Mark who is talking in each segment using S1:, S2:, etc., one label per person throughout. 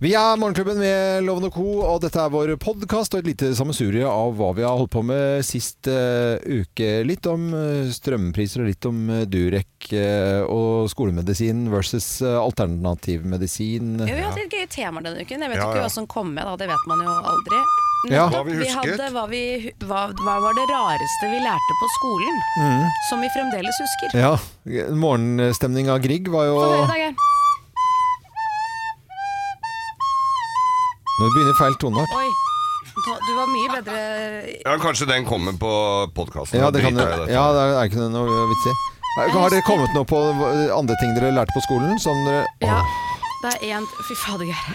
S1: Vi er Morgenklubben med Loven og Co, og dette er vår podkast og et lite sammensurie av hva vi har holdt på med sist eh, uke. Litt om eh, strømpriser og litt om eh, Durek eh, og skolemedisin versus eh, alternativmedisin.
S2: Ja, vi hadde et gøy tema denne uken. Jeg vet
S3: Ja,
S2: ikke
S3: ja.
S2: hva som kom med, da. Det vet man jo aldri.
S1: Ja.
S3: Hva vi husket.
S2: hadde, hva, vi, hva, hva var det rareste vi lærte på skolen, som vi fremdeles husker?
S1: Mm. Ja, Morgenstemning av Grieg var jo
S2: Få høre, da, Geir.
S1: Nå begynner feil toneart.
S2: Oi. Da- Du var mye bedre
S3: Ja, Kanskje den kommer på podkasten.
S1: Ja, det altså. kan jo Ja, det er ikke noe vits i. Har dere kommet noe på andre ting dere lærte på skolen? Som dere
S2: Ja. Det er én Fy fader, Geir.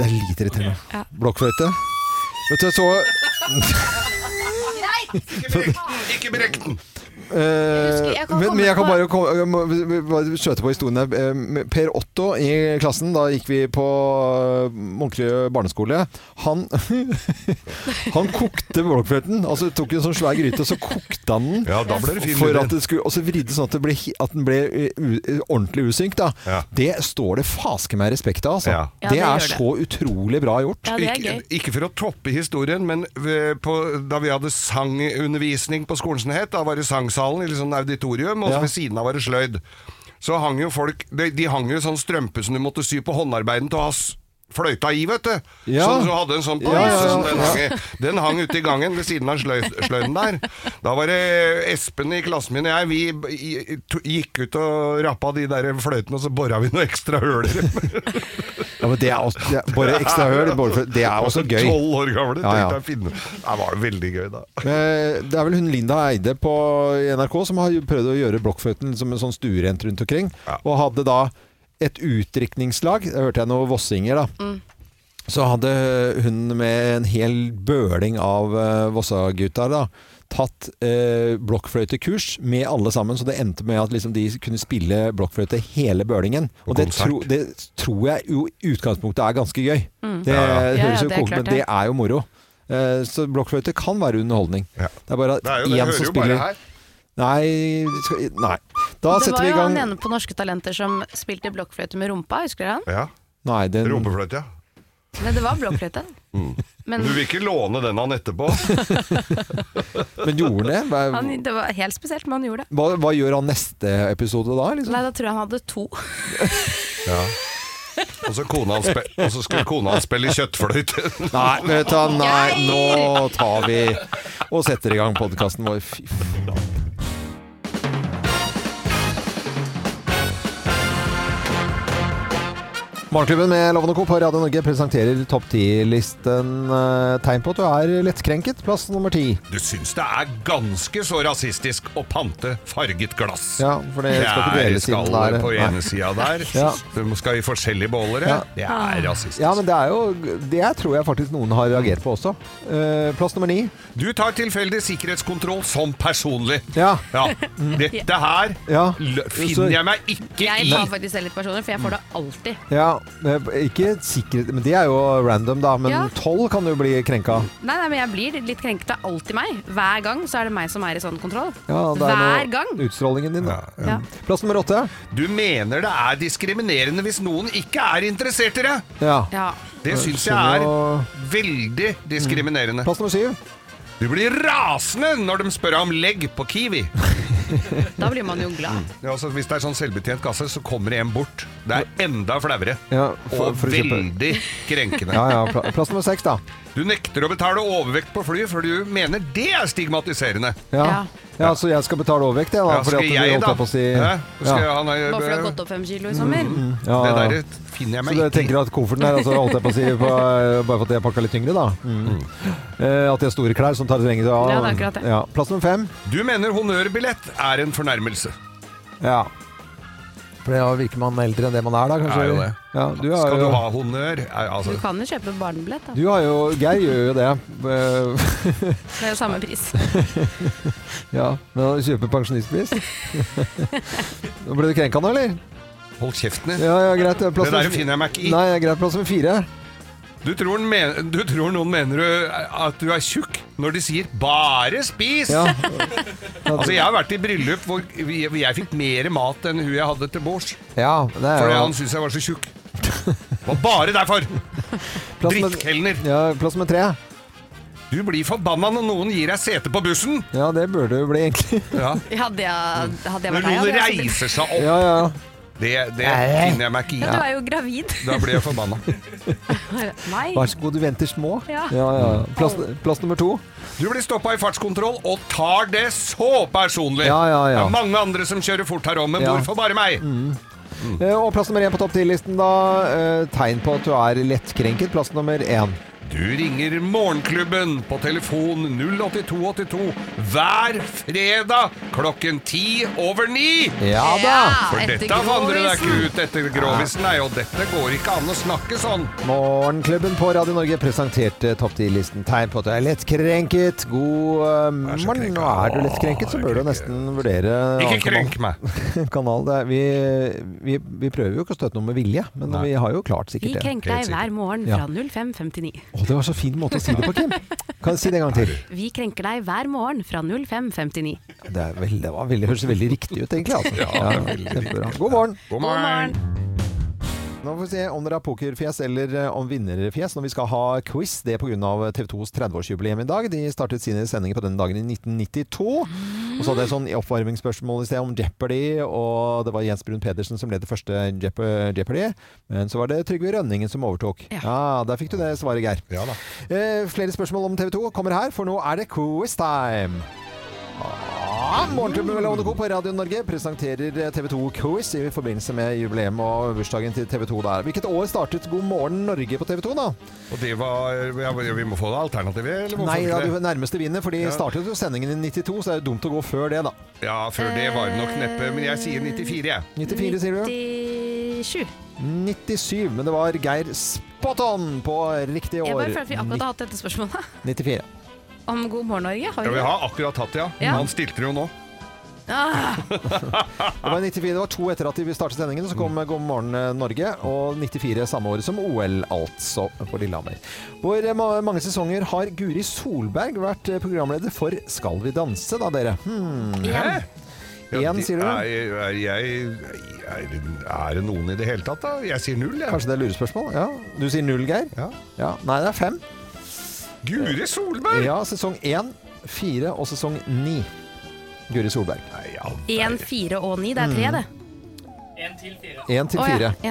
S1: Det er litt irriterende.
S2: Ja.
S1: Blokkfløyte. Vet du, så
S3: Ikke brekk den!
S1: Eh,
S2: husker- jeg kan
S1: men,
S2: komme
S1: men jeg kan
S2: på-
S1: bare kom- jeg må- vi- vi- bare skjøte på historien her. Eh, med Per Otto i klassen, da gikk vi på eh, Munkly barneskole. Han, han kokte blokkfløyten. Altså tok en sånn svær gryte, og så kokte han den.
S3: Ja, da ble det fin
S1: For
S3: lyd.
S1: at det skulle, og så vridde sånn at, det ble, hi- at den ble eh, u, eh, ordentlig usynk. Da.
S3: Ja.
S1: Det står det faske meg respekt av. Altså.
S3: Ja.
S2: Ja,
S1: det,
S2: det
S1: er
S2: gjør det.
S1: så utrolig bra gjort.
S2: Ja, det er
S3: Ikke,
S2: gøy.
S3: ikke for å toppe historien, men eh, på, da vi hadde sangundervisning på skolen som det het, da var det sangsalen i liksom auditorium, og
S1: Ja.
S3: så ved siden av var det sløyd. Så hang jo folk De, de hang jo i sånn strømpe som du måtte sy på håndarbeiden til å ha s- fløyta i, vet du.
S1: Ja.
S3: Sånn som du hadde en sånn på.
S1: Ja, ja,
S3: sånn
S1: ja.
S3: Den, hang, i- den hang ute i gangen ved siden av sløy, sløyden der. Da var det Espen i klassen min og jeg, vi b- i- to- gikk ut og rappa de der fløytene, og så bora vi noen ekstra høler.
S1: Ja, men det er også, det er bare ekstra høl. borefløyte. Det er også gøy.
S3: Tolv år gamle.
S1: Ja, ja.
S3: tenkte jeg, finne- Det var veldig gøy, da.
S1: Eh, Det er vel hun Linda Eide på i NRK som har prøvd å gjøre blokkfløyten som en sånn stuerent rundt omkring.
S3: Ja.
S1: Og hadde da et utdrikningslag. Der hørte jeg noen vossinger, da.
S3: Mm.
S1: Så hadde hun med en hel bøling av eh, Vossa-gutta da tatt eh, blokkfløytekurs med alle sammen, så det endte med at liksom, de kunne spille blokkfløyte hele bølingen. Og det,
S3: konsert.
S1: tro, det tror jeg jo i utgangspunktet er ganske gøy. Det
S3: Mm. Ja,
S2: ja. Ja, ja,
S1: høres jo
S2: det er
S1: koselig
S2: klart
S1: men
S2: det.
S1: det er jo moro. Eh, Så blokkfløyte kan være underholdning.
S3: Ja.
S1: Det er bare
S3: Det er
S1: at
S3: jo det,
S1: én
S3: hører
S1: som
S3: jo bare
S1: spiller
S3: her.
S1: Nei, skal- nei. Da
S2: Det
S1: setter
S2: var
S1: vi i
S2: jo han
S1: gang
S2: ene på Norske Talenter som spilte blokkfløyte med rumpa, husker dere han?
S3: Ja,
S1: Nei, den Mm.
S3: Rumpefløyte, ja.
S2: Nei, det var blokkfløyte. Men
S3: Du vil ikke låne den han etterpå?
S1: Men gjorde den
S2: han,
S1: det? Hva,
S2: det var helt spesielt, men han gjorde det.
S1: hva, hva gjør han neste episode da? Liksom?
S2: Nei, da tror jeg han hadde to.
S3: Ja. Og så, kona hans spe- og så skulle kona hans spille kjøttfløyte.
S1: Nei, vet du, hva, nei, nå tar vi og setter i gang podkasten vår. Fy faen. Morgenklubben med Loven og Co. på Radio Norge presenterer topp 10-listen eh, tegn på at du er lettkrenket. Plass nummer ti.
S3: Du syns det er ganske så rasistisk å pante farget glass.
S1: Ja, for det skal ikke
S3: Fjære
S1: dele siden
S3: skaller
S1: der.
S3: på
S1: Nei.
S3: ene sida der.
S1: Ja.
S3: Du skal i forskjellige båler.
S1: Ja.
S3: Det er rasistisk.
S1: Ja, men det er jo Det tror jeg faktisk noen har reagert på også. Eh, plass nummer ni.
S3: Du tar tilfeldig sikkerhetskontroll som personlig.
S1: Ja.
S3: Ja. Dette her
S1: Ja.
S3: lø-
S1: Så-
S3: finner jeg meg ikke
S2: Jeg
S3: i.
S2: tar faktisk selv litt personer, for jeg får det alltid.
S1: Ja, eh, ikke sikkerhet Men det er jo random, da.
S2: Ja.
S1: Men tolv kan du bli krenka.
S2: Nei, nei, men jeg blir litt krenket. Det er alltid meg. Hver gang så er det meg som er i sånn kontroll.
S1: Ja, det er
S2: Hver
S1: noe-
S2: gang.
S1: Utstrålingen din. da.
S2: Ja. Ja.
S1: Plass nummer åtte.
S3: Du mener det er diskriminerende hvis noen ikke er interessert i deg.
S1: Ja.
S2: Ja.
S3: Det syns jeg
S1: skjønner Mm.
S3: er
S1: jo-
S3: veldig diskriminerende.
S1: Plass nummer syv.
S3: Du blir rasende når de spør om legg på Kiwi.
S2: Da blir man jo glad.
S3: Ja, altså, hvis det er sånn selvbetjent kasse, så kommer det en bort. Det er enda flauere.
S1: Ja, for-
S3: Og
S1: for eksempel.
S3: veldig krenkende.
S1: Ja, ja, pla- plass nummer seks, da.
S3: Du nekter å betale overvekt på fly, for du mener det er stigmatiserende.
S1: Ja.
S2: Ja.
S1: ja, så jeg skal betale overvekt, jeg, da.
S3: Ja,
S1: Fordi at du holdt jeg på å si
S3: Hæ? Skal
S1: Ja.
S3: jeg- han er-
S2: Bare for å ha gått opp fem kilo i sommer.
S1: Ja,
S3: Det
S1: ja.
S3: der finner
S1: Så
S3: jeg meg
S1: dere
S3: ikke i.
S1: tenker at kofferten der altså, holdt jeg på å si, på, bare for at jeg pakka litt tyngre, da.
S3: Mm.
S1: Eh, at de har store klær som tar lenger av.
S2: Ja, det er akkurat det.
S1: Ja. Plass nummer fem.
S3: Du mener honnørbillett er en fornærmelse.
S1: Ja. For da virker man eldre enn det man er, da, kanskje?
S3: Er jo det.
S1: Ja, du har
S3: Skal
S1: jo,
S3: du ha honnør? Er-
S2: Du
S3: Altså,
S2: kan jo kjøpe barnebillett, da.
S1: du har jo Geir gjør jo det. Eh,
S2: Det er jo samme pris.
S1: ja, men han kjøper pensjonistpris. Nå ble du krenka nå, eller?
S3: hold kjeften din.
S1: Ja, ja, greit. Plass
S3: Det der finner jeg meg ikke i.
S1: Nei, ja, greit. Plass nummer fire.
S3: Du tror, den men, du tror noen mener du- at du er tjukk når de sier 'bare spis'.
S1: Ja.
S3: Altså, jeg har vært i bryllup hvor vi- jeg fikk mer mat enn hun jeg hadde til bords.
S1: ja det er
S3: Fordi
S1: jo
S3: han syntes jeg var så tjukk. var bare derfor!
S1: Plass med-
S3: Drittkelner.
S1: Ja, plass med tre.
S3: Du blir forbanna når noen gir deg sete på bussen!
S1: Ja, det burde jo bli, egentlig.
S3: Ja.
S2: Hadde jeg, hadde jeg
S3: Når
S2: vært deg,
S3: noen
S2: hadde jeg sittet-
S3: reiser seg opp.
S1: Ja, ja.
S3: Det, det finner jeg meg
S2: Ja,
S3: ikke
S2: du
S3: i.
S2: er jo gravid.
S3: Da blir jeg forbanna.
S2: Nei.
S1: Vær så god, du venter små.
S2: Ja.
S1: ja, ja. Plass, plass nummer to.
S3: Du blir stoppa i fartskontroll og tar det så personlig.
S1: Ja, ja, ja.
S3: Det er mange andre som kjører fort her òg, men
S1: Ja.
S3: hvorfor bare meg?
S1: Eh, Og plass nummer én på topp ti-listen, da. eh, Tegn på at du er lettkrenket. Plass nummer én.
S3: Du ringer Morgenklubben på telefon 08282 hver fredag klokken ti over ni.
S1: Ja da!
S2: Ja.
S3: For
S2: Etter
S3: dette vandrer deg
S2: Grovisen.
S3: ikke ut etter Grovisen, nei, og dette går ikke an å snakke sånn.
S1: Morgenklubben på Radio Norge presenterte topp 10-listen tegn på at du er lettkrenket. God eh, morgen.
S3: så krenket.
S1: Og er du lettkrenket, så
S3: Åh,
S1: bør du
S3: jeg krenker.
S1: nesten vurdere annen
S3: Ikke
S1: kanal.
S3: krenk meg.
S1: kanal. Det er, vi, vi, vi prøver jo ikke å støte noe med vilje, men vi har jo klart
S2: Vi
S1: sikkert det.
S2: krenker deg hver morgen
S1: Ja.
S2: fra 05.59.
S1: Å, det var så fin måte å si det på, Kim. Kan du si det en gang til?
S2: Vi krenker deg hver morgen fra 05.59.
S1: Det, er veldig, det var veldig, høres veldig riktig ut, egentlig. Altså.
S3: Ja, det er veldig
S1: kjempebra. God morgen.
S3: God
S2: God
S3: morgen.
S2: morgen.
S1: Nå får vi se om dere har pokerfjes eller eh, om vinnerfjes når vi skal ha quiz. Det er pga. TV 2s 30-årsjubileum i dag. De startet sine sendinger på den dagen i 1992. Og så hadde jeg sånn oppvarmingsspørsmål i sted om Jeopardy, og det var Jens Brun Pedersen som ble det første Jeop- Jeopardy. Men så var det Trygve Rønningen som overtok. Ja,
S2: Ja.
S1: Der fikk du det svaret, Geir.
S3: Ja da.
S1: Eh, flere spørsmål om TV 2 kommer her, for nå er det quiz time. Ja, Morgenklubben med Lovende Co. på Radio Norge presenterer eh, TV 2 Quiz i forbindelse med jubileum og bursdagen til TV 2 der. Hvilket år startet God morgen Norge på TV 2, da?
S3: Og det var ja, Vi må få det alternativet, eller hvorfor
S1: Nei, da
S3: ikke
S1: du
S3: det?
S1: nærmeste vinner, for de
S3: Ja.
S1: startet jo sendingen i 92, så det er jo dumt å gå før det, da.
S3: Ja, før det var det nok neppe, men jeg sier 94, jeg.
S1: 94, sier du?
S2: 97.
S1: 97, men det var Geir Spot on på riktig
S2: Jeg
S1: år.
S2: bare føler at vi akkurat har hatt dette spørsmålet
S1: 94.
S2: om God morgen Norge. Har
S3: Ja,
S2: vi
S3: vi
S2: det?
S3: har akkurat hatt det, ja.
S2: Ja.
S3: Han stilte det jo nå.
S2: Ah,
S1: Det var 94, det var to etter at de startet sendingen, så kom God morgen eh, Norge, og 94 samme år som OL, altså, på Lillehammer. Hvor eh, ma- mange sesonger har Guri Solberg vært eh, programleder for Skal vi danse, da, dere? Hmm.
S3: Hæ?
S1: Én,
S3: de-
S1: sier du?
S3: Er, er, jeg, er, er det noen i det hele tatt, da? Jeg sier null, jeg.
S1: Kanskje det er lurespørsmål? Ja. Du sier null, Geir?
S3: Ja.
S1: Ja. Nei, det er fem.
S3: Guri Solberg!
S1: Ja, sesong én, fire og sesong ni. Guri Solberg.
S3: Nei, ja,
S2: Én, fire og ni. Det er tre, det.
S1: Én Mm. til
S2: Å ja,
S1: fire.
S2: Én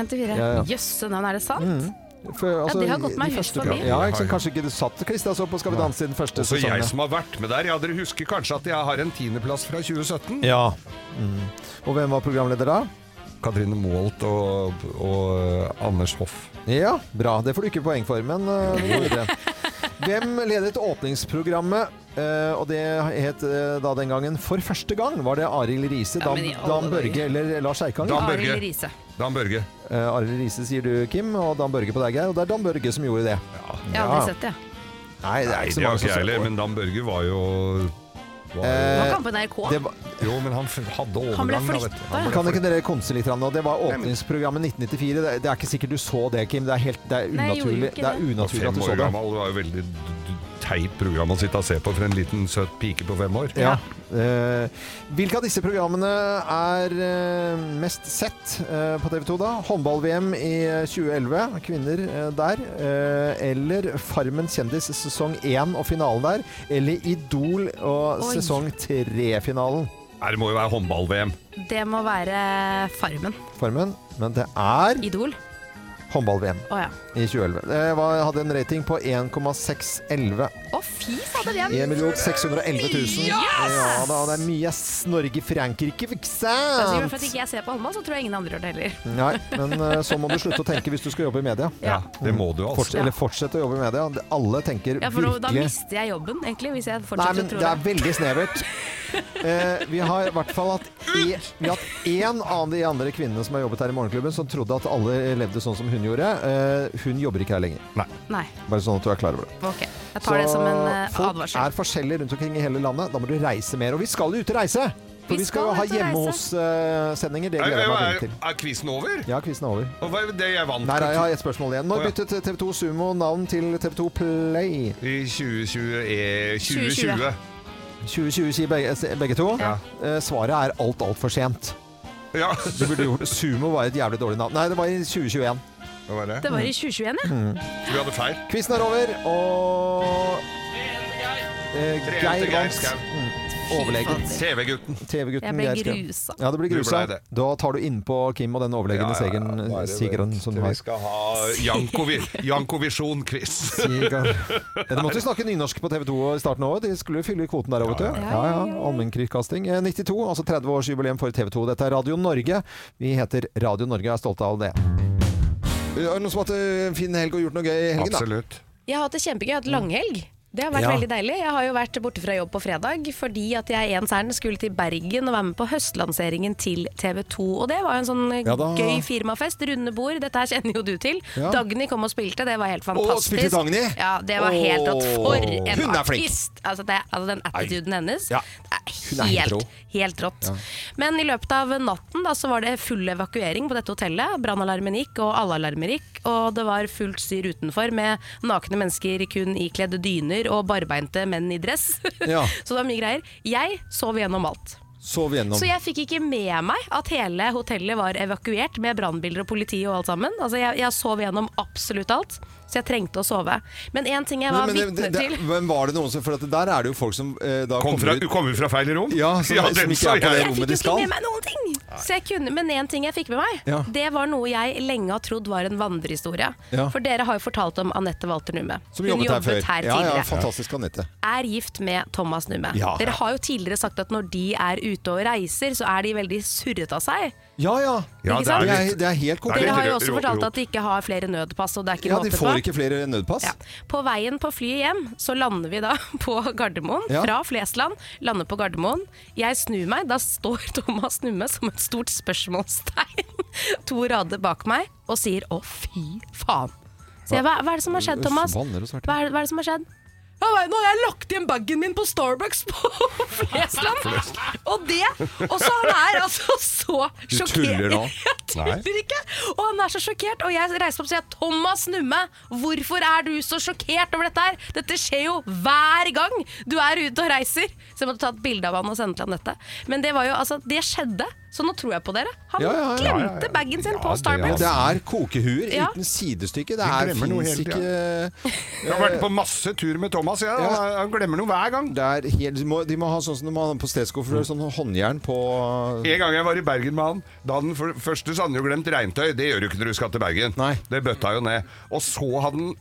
S2: til fire.
S1: Ja, ja.
S2: Jøsse navn, er det sant?
S1: For, altså,
S2: det har gått meg
S1: de
S2: helt
S1: første-
S2: forbi.
S1: Ja, ikke, sant? kanskje ikke du satt Kristian så på Skal vi danse i den første
S3: Også
S1: sesongen.
S3: jeg som har vært med der. Ja, dere husker kanskje at jeg har en tiendeplass fra 2017?
S1: Ja. Mm. Og hvem var programleder da?
S3: Katrine Moholt og, og eh, Anders Hoff.
S1: Ja, bra. Det får du ikke poeng for, men eh, vi går videre. Hvem ledet åpningsprogrammet? eh, og det het eh, da den gangen For første gang var det Arild Riise,
S2: Ja,
S1: Dan,
S2: men i alle
S1: Dan Børge
S2: dager.
S1: eller Lars Eikanger.
S3: Dan Børge.
S2: Arild Riise.
S3: Dan Børge.
S1: Eh, Arild Riise sier du, Kim, og Dan Børge på deg, Geir. Og det er Dan Børge som gjorde det.
S3: Ja.
S2: Jeg har aldri sett det. jeg.
S1: Nei, det er ikke
S3: Nei, det
S1: så
S3: var
S1: mange
S3: ikke
S1: som
S3: jeg
S1: ser
S3: heller,
S1: på.
S3: men Dan Børge var jo
S2: Det
S3: var,
S2: var
S1: Eh,
S2: kamp på NRK.
S1: Det var,
S3: Jo, men han f- hadde
S2: Han ble
S3: overgang, da, vet du.
S2: flytta.
S1: kan ikke dere konse litt? grann nå? Det var åpningsprogrammet 1994. Det, det er ikke sikkert du så det, Kim. Det er, helt, det er
S2: Nei, jeg gjorde
S1: unaturlig,
S2: ikke
S1: det er unaturlig at
S3: Fem
S1: du
S3: år
S1: så det.
S3: gammel, det var jo veldig d- d- teit program å sitte og se på for en liten søt pike på fem år.
S1: Ja. Eh, hvilke av disse programmene er eh, mest sett eh, på TV 2 da? Håndball-VM i 2011, kvinner eh, der. eh, eller Farmen kjendis sesong 1 og finalen der. Eller Idol og
S2: Oi.
S1: sesong 3-finalen.
S3: Nei, Det må jo være håndball-VM.
S2: Det må være Farmen.
S1: Farmen. Men det er
S2: Idol.
S1: håndball-VM
S2: Å ja.
S1: i 2011. Det var, hadde en rating på 1,611.
S2: Å fy fader, det er
S1: 1 611 000. Ja da, det er mye s- Norge-Frankrike, ikke sant?
S2: Altså, i hvert fall at ikke jeg ser på håndball, så tror jeg ingen andre gjør det heller.
S1: Nei, men eh, så må du slutte å tenke hvis du skal jobbe i media.
S2: Ja.
S3: Det må du, altså.
S1: Forts Eller fortsette å jobbe i media. Det- Alle tenker
S2: Ja, for da, da
S1: virkelig
S2: mister jeg jobben, egentlig, hvis jeg
S1: Nei,
S2: fortsetter
S1: men
S2: å tro
S1: det er veldig snevert. Eh, vi har i hvert fall hatt e- Vi har hatt én av de andre kvinnene som har jobbet her i Morgenklubben, som trodde at alle levde sånn som hun gjorde. Eh, hun jobber ikke her lenger.
S2: Nei.
S1: Bare sånn at du er klar over det.
S2: Ok. Jeg tar det som en eh,
S1: folk
S2: advarsel.
S1: er forskjellige rundt omkring i hele landet. Da må du reise mer. Og vi skal jo ut og reise! For vi,
S2: Vi
S1: skal
S2: skal
S1: jo ha
S2: ut og
S1: hjemme
S2: reise.
S1: hos-sendinger. det
S3: Er,
S1: gleder jeg meg
S3: er,
S1: veldig til.
S3: er quizen over?
S1: Ja, quizen er over.
S3: Og hva er det jeg vant
S1: Nei, nei, jeg har et spørsmål igjen. Når
S3: Å, ja.
S1: byttet TV2 Sumo navn til TV2 Play?
S3: i 2020? eh,
S2: 2020.
S3: 2020.
S1: 2020 sier begge, sier begge to.
S3: Ja.
S1: Eh, Svaret er alt, alt for sent.
S3: Ja.
S1: Du burde gjort Sumo var et jævlig dårlig navn. Nei, det var i 2021.
S3: Hva var det?
S2: Det var i 2021, ja.
S3: Vi hadde feil.
S1: Mm. Quizen er over, og eh, Geir Mm.
S3: Tre til Geir
S1: vant.
S3: Skau.
S1: Overlegent.
S3: TV-gutten.
S1: TV-gutten
S2: Jeg ble
S1: Geir Skau.
S2: grusa.
S1: Ja, det blir
S3: Du
S1: grusa.
S3: ble det.
S1: Da tar du innpå Kim og den overlegne segeren,
S3: Bare vent
S1: sigeren som
S3: til
S1: har
S3: Vi skal ha Jankovi- Jankovisjon-quiz.
S1: Sigurd. Ja, de måtte jo snakke nynorsk på TV 2 i starten av året. De skulle jo fylle kvoten der, vet du.
S2: ja,
S1: Ja,
S2: ja.
S1: ja. Allmennkringkasting. Eh, 92, altså 30-årsjubileum for TV 2. Dette er Radio Norge. Vi heter Radio Norge og er stolte av det. Er det noen som har hatt eh, en fin helg og gjort noe gøy i helgen, da?
S3: Absolutt.
S2: Jeg har hatt det kjempegøy. Jeg har hatt langhelg. Det har vært
S1: Ja.
S2: veldig deilig. Jeg har jo vært borte fra jobb på fredag fordi at jeg ens ærend skulle til Bergen og være med på høstlanseringen til TV 2. Og det var jo en sånn
S1: Ja da.
S2: gøy firmafest. Runde bord. Dette her kjenner jo du til.
S1: Ja.
S2: Dagny kom og spilte. Det var helt fantastisk.
S1: spilte Dagny?
S2: Ja, det var helt at
S1: Åh.
S2: For en
S1: Hun er flink.
S2: artist! Altså, det, altså den attituden hennes.
S1: Ja.
S2: Det
S1: Hun
S2: er
S1: er
S2: helt, helt
S1: helt rå.
S2: Helt rått. Men i løpet av natten da, så var det full evakuering på dette hotellet. Brannalarmen gikk, og alle alarmer gikk. Og det var fullt styr utenfor med nakne mennesker kun ikledde dyner og barbeinte menn i dress.
S1: Ja.
S2: så det var mye greier. Jeg sov gjennom alt.
S1: Sov gjennom.
S2: Så jeg fikk ikke med meg at hele hotellet var evakuert med brannbiler og politi og alt sammen. Altså jeg, jeg sov gjennom absolutt alt, så jeg trengte å sove. Men én ting jeg var
S1: Men- men
S2: vitne
S1: det- det-
S2: til
S1: Men var det noen som For at der er det jo folk som eh, da
S3: Kom
S1: kommer
S3: fra,
S1: ut-
S3: du kommer fra feil rom?
S1: Ja, som- som
S3: den
S1: ikke
S3: så
S1: er på det
S3: jeg.
S2: Jeg
S1: rommet
S2: fikk
S1: de
S2: jo ikke
S1: skal.
S2: med meg noen ting! Så jeg kunne, men én ting jeg fikk med meg,
S1: Ja.
S2: det var noe jeg lenge har trodd var en vandrehistorie.
S1: Ja.
S2: For dere har jo fortalt om Anette Walter Numme.
S1: Som jobbet,
S2: Hun jobbet her,
S1: Ja,
S2: tidligere.
S1: ja, fantastisk Anette.
S2: Er gift med Thomas Numme.
S1: Ja.
S2: Dere har jo tidligere sagt at når de er ute og reiser, så er de veldig surrete av seg.
S1: Ja ja.
S3: Ja,
S2: Ikke
S3: det
S2: sant?
S1: Det
S3: er
S1: er,
S3: litt
S1: det er helt
S3: Det
S1: korrekt.
S2: Dere har jo
S3: rå-
S2: også
S3: rå-
S2: fortalt
S3: rå-
S2: at de ikke har flere nødpass, og det er ikke
S1: Ja,
S2: måte
S1: de
S2: på.
S1: får ikke flere nødpass.
S2: Ja. På veien på flyet hjem så lander vi da på Gardermoen.
S1: Ja.
S2: Fra Flesland, lander på Gardermoen. Jeg snur meg, da står Thomas Numme som et stort spørsmålstegn to rader bak meg og sier 'å, fy faen'. Så jeg, hva, hva er det som har skjedd, Thomas? Hva
S1: Forbanner
S2: er,
S1: og svarte.
S2: det- hva er det som har skjedd? Ja, nei, nå har jeg lagt igjen bagen min på Starbucks på Flesland! Og det Og så han er altså så
S1: Du
S2: sjokkert.
S1: tuller nå?
S2: Jeg tuller ikke! Og han er så sjokkert, og jeg reiser meg opp og sier Thomas Numme, hvorfor er du så sjokkert over dette her? Dette skjer jo hver gang du er ute og reiser! Så jeg måtte ta et bilde av han og sende til Anette. Men det var jo, altså, det skjedde, så nå tror jeg på dere. Han
S1: Ja, ja, ja.
S2: glemte
S3: Ja, ja, ja.
S2: bagen sin
S3: Ja,
S2: på
S3: det-
S2: Starbucks.
S1: Det er kokehuer
S2: Ja.
S1: uten sidestykke. Det
S3: Vi
S1: er
S3: glemmer noe
S1: fins
S3: hele
S1: ikke
S3: Jeg har vært på masse tur med Thomas, jeg.
S1: Ja.
S3: Han, han glemmer noe hver gang.
S1: det er helt, de, må, de må ha sånn som de har på Stedsco før, sånn håndjern på
S3: En gang jeg var i Bergen med han, da den for, første så hadde han jo glemt regntøy. Det gjør du ikke når du skal til Bergen.
S1: Nei.
S3: Det bøtta jo ned. Og så hadde han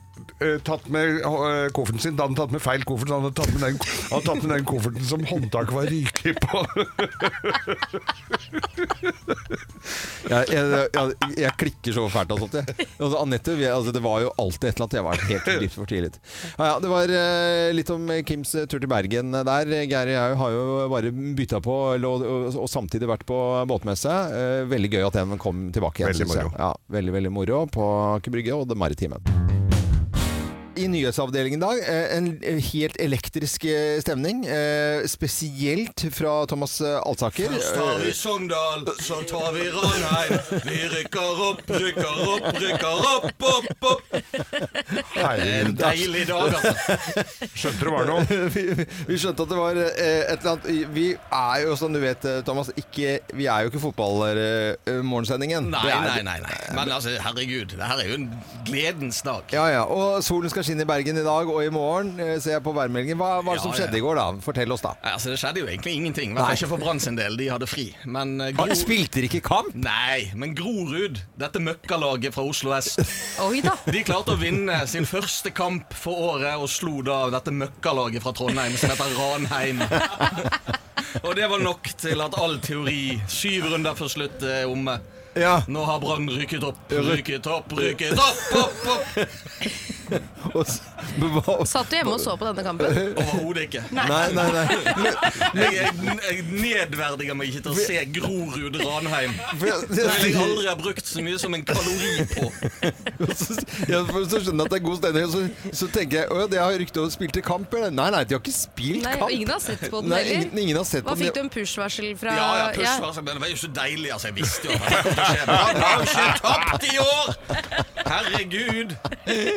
S3: ø, tatt med ø, kofferten sin. Da hadde han tatt med feil koffert, så hadde han tatt med den, han hadde tatt med den kofferten som håndtaket var ryket på.
S1: Jeg, jeg, jeg, jeg klikker så fælt av sånt, jeg. Altså, Anette, vi, altså, det var jo alltid et eller annet. Jeg var helt dypt fortvilet. Ja, ja, det var eh, litt om Kims eh, tur til Bergen der. Geir og jeg har jo bare bytta på eller, og, og, og samtidig vært på båtmesse. Eh, veldig gøy at den kom tilbake igjen.
S3: Veldig
S1: synes jeg.
S3: moro.
S1: Ja, veldig, veldig moro på Aker Brygge og det maritime. I nyhetsavdelingen i dag, eh, en helt elektrisk eh, stemning. eh, Spesielt fra Thomas eh, Alsaker.
S4: Først tar vi Sogndal, så tar vi Ranheim. Vi rykker opp, rykker opp, rykker opp, opp, opp. Det er en
S3: Herregud.
S4: deilig dag, altså.
S3: Skjønte du var noe?
S1: vi, vi skjønte at det var eh, et eller annet Vi er jo, som du vet, eh, Thomas, ikke, vi er jo ikke eh, fotballmorgensendingen.
S4: Nei, nei, nei. nei. Men altså, herregud, det her er jo en gledens dag.
S1: Ja, ja, og Solen skal skinne i Bergen i dag og i morgen, eh, ser jeg på værmeldingen. Hva var det som
S4: Ja, ja.
S1: skjedde i går, da? Fortell oss, da.
S4: Nei, Altså, Det skjedde jo egentlig ingenting. I hvert
S1: Nei.
S4: fall ikke for Brann sin del, de hadde fri. Men eh, Gro-
S1: Spilte dere ikke kamp?
S4: Nei, men Grorud, dette møkkalaget fra Oslo S
S2: Oi da.
S4: De klarte å vinne sin første kamp for året og slo da dette møkkalaget fra Trondheim som heter Ranheim. Og det var nok til at all teori, syv runder før slutt, er omme.
S1: Ja,
S4: Nå har Brann rykket opp, rykket opp, rykket opp, opp, opp!
S1: og, s- hva- og s-
S2: Satt du hjemme og så på denne kampen?
S4: Overhodet ikke.
S1: Nei, nei, nei.
S4: Jeg, jeg, jeg nedverdiger meg ikke til å se Grorud Ranheim.
S1: For jeg,
S4: Det vil jeg
S1: jeg,
S4: aldri ha brukt så mye som en kalori på.
S1: jeg, for så skjønner jeg at det er god stemning, og så, så tenker jeg at de har rykte om å spilte kamp. Eller? Nei, nei, de har ikke spilt
S2: Nei,
S1: kamp.
S2: og ingen har sett på den
S1: Nei, ingen,
S2: heller.
S1: ingen har sett
S2: Hva
S1: på den.
S2: fikk du en push-varsel fra
S4: Ja, ja, push,
S2: Ja.
S4: altså, men det var jo så deilig. Altså, jeg visste jo at det kom til å skje. Brann har ikke tapt i år! Herregud!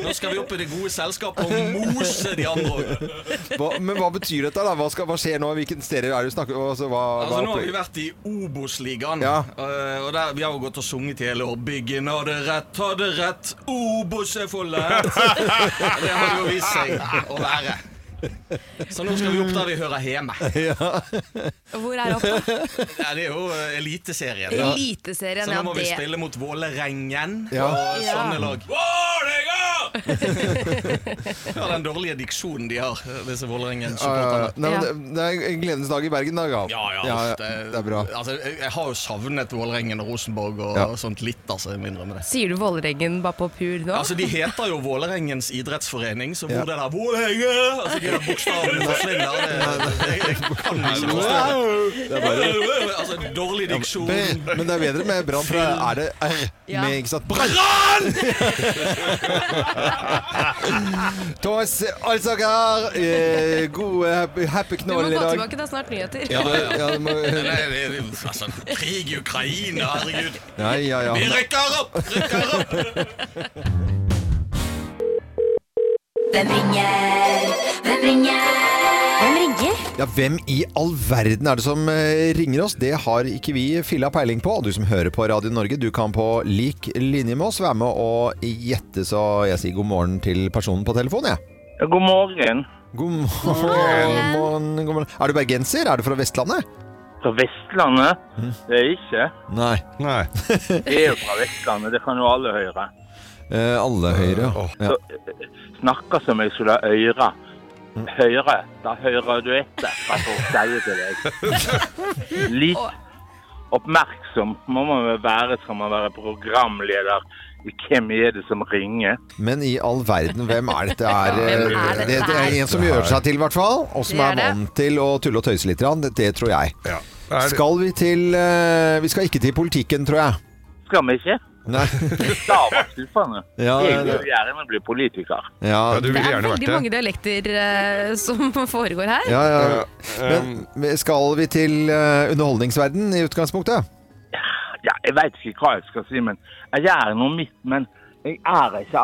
S4: Nå skal vi opp i det gode selskapet og mose de andre òg.
S1: Hva, men hva betyr dette? da? Hva, skal, hva skjer nå? Hvilken serie er det du snakker om? Altså, hva,
S4: Altså,
S1: hva
S4: nå har vi
S1: opplegg-
S4: vært i Obos-ligaen.
S1: Ja.
S4: Eh, og der, vi har jo gått og sunget i hele år. Byggen hadde rett, hadde rett, Obos er for lett. Det har jo vist seg å være. Så nå skal vi opp der vi hører hjemme.
S2: Hvor er opp?
S4: Ja, det er jo eh, Eliteserien.
S2: Eliteserien,
S4: Så
S2: ja.
S4: nå må vi
S2: Det.
S4: spille mot Vålerengen
S1: Ja.
S4: og
S2: Ja.
S4: sånne lag. Vålerenga! ja, den dårlige diksjonen de har, disse Vålerengen-supporterne.
S1: Nei, men det- det er en gledens dag i Bergen, da. Gav.
S4: Ja, ja,
S1: Det, er bra.
S4: Altså, jeg, jeg har jo savnet Vålerengen og Rosenborg og,
S1: Ja.
S4: og sånt litt, altså. Jeg må innrømme det.
S2: Sier du Vålerengen bare på pur nå?
S4: Altså, De heter jo Vålerengens idrettsforening, så hvor
S1: Ja.
S4: det der Vålerenga Altså, de der bokstavene forsvinner. Det, det, jeg kan ikke forstå det.
S1: Det er bare
S4: Altså, dårlig diksjon.
S1: Men men det er bedre med brann, for da er det R
S2: Ja.
S1: med ikke sant? Brann! Tås, altså, gar, eh, gode happy- happy
S2: Du må
S1: knoll i
S2: gå
S1: dag.
S2: tilbake, det er snart nyheter.
S1: Ja, det- ja, det må,
S4: Nei, det, det, altså, krig i Ukraina, herregud.
S1: ja, ja, ja.
S4: Vi rykker opp! Rykker opp!
S5: Hvem ringer? Hvem ringer? Hvem ringer?
S1: Ja, Hvem i all verden er det som eh, ringer oss? Det har ikke vi filla peiling på. Og Du som hører på Radio Norge, du kan på lik linje med oss være med og gjette, så jeg sier god morgen til personen på telefonen, jeg.
S6: Ja, God morgen
S1: God morgen. god morgen. Er du bergenser? Er du fra Vestlandet?
S6: fra Vestlandet. Det er jeg ikke.
S1: Nei.
S3: Nei.
S6: Jeg er jo fra Vestlandet, det kan jo alle høre. eh,
S1: Eh, alle høyre. Ja.
S6: Snakker som jeg skulle ha øre. Høre, da hører du etter hva folk sier til deg. Litt oppmerksom må man vel være skal man være programleder. Hvem er det som ringer?
S1: Men i all verden, hvem er dette er?
S2: Hvem er
S1: eh,
S2: dette
S1: det, det er en som gjør seg til, i hvert fall. Og som
S2: Det er
S1: er
S2: det.
S1: vant til å tulle og tøyse litt. grann. Det, det tror jeg.
S3: Ja. Er det,
S1: Skal vi til eh, Vi skal ikke til politikken, tror jeg.
S6: Skal vi ikke?
S1: Nei.
S6: Da var skuffende.
S1: Ja, det-
S6: Jeg vil jo gjerne bli politiker.
S3: ja,
S1: Ja,
S3: du
S2: Det
S3: ville
S2: er
S3: gjerne vært
S2: veldig
S3: det.
S2: mange dialekter eh, som foregår her.
S1: Ja, ja,
S6: Eh,
S1: ja.
S3: Ja,
S1: Men men skal vi til eh, underholdningsverden i utgangspunktet?
S6: Ja, jeg veit ikke hva jeg skal si, men jeg er noe mitt, men jeg er ikke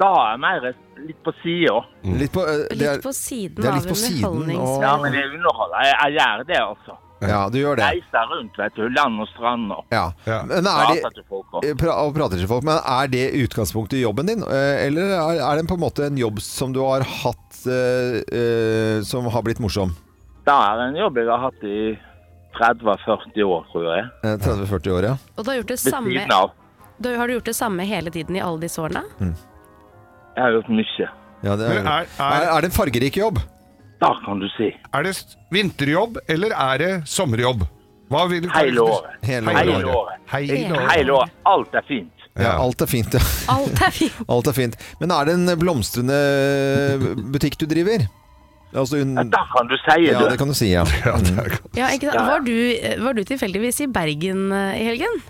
S6: Da er jeg mer litt på sida.
S1: Litt på, eh, det er,
S2: Litt på siden
S1: det er
S2: av
S1: litt på siden, og-
S6: Ja,
S2: underholdningsverden.
S6: men det underholder. Jeg, jeg gjør det, altså.
S1: ja, du gjør det.
S6: Reiser rundt, vet du. Land og strand og
S1: Ja.
S3: Ja.
S1: Men er det,
S6: prater til folk. Og.
S1: eh, pra, og prater til folk, men er det utgangspunktet i jobben din? eh, Eller er er det på en måte en jobb som du har hatt eh, eh, som har blitt morsom?
S6: Det er en jobb jeg har hatt i 30-40 år, tror jeg.
S1: Eh, 30-40 år, ja.
S2: Og du har, gjort det
S6: Ved
S2: samme,
S6: siden av.
S2: da har du gjort det samme hele tiden i alle disse årene?
S6: Jeg har gjort mye.
S1: ja det er,
S3: Men er-
S1: er,
S3: er-
S1: er det en fargerik jobb?
S6: Da kan du si.
S3: Er det s- vinterjobb, eller er det sommerjobb? Hva vil du
S6: Hele året.
S1: Hele
S6: Hele
S1: året.
S6: året.
S3: Hele året.
S6: Hele året. Alt er fint.
S1: Ja, alt er fint, ja.
S2: Alt er fint.
S1: Alt er fint. Men er det en blomstrende butikk du driver? Altså, un
S6: Da kan du si
S1: ja, det
S6: det.
S1: kan du si, ja. Mm.
S3: Ja, det er godt.
S2: Ja, ikke sant? Var, du, eh, var du tilfeldigvis i Bergen eh, i helgen?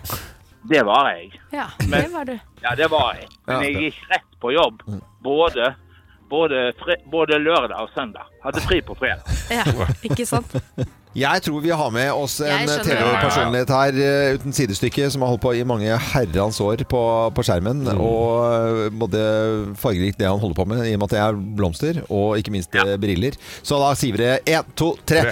S6: Det var jeg.
S2: Ja, det var du.
S6: Ja, det var jeg. Men jeg gikk rett på jobb.
S1: Mm.
S6: Både, både, fri, både lørdag og søndag. Hadde fri på fredag.
S2: Ja, ikke sant?
S1: Jeg tror vi har med oss en
S2: Jeg skjønner.
S1: TV-personlighet her eh, uten sidestykke, som har holdt på i mange herrens år på, på skjermen.
S3: Mm.
S1: Og eh, både fargerikt det han holder på med, i og med at det er blomster, og ikke minst eh, briller. Så da sier vi det én, to, tre.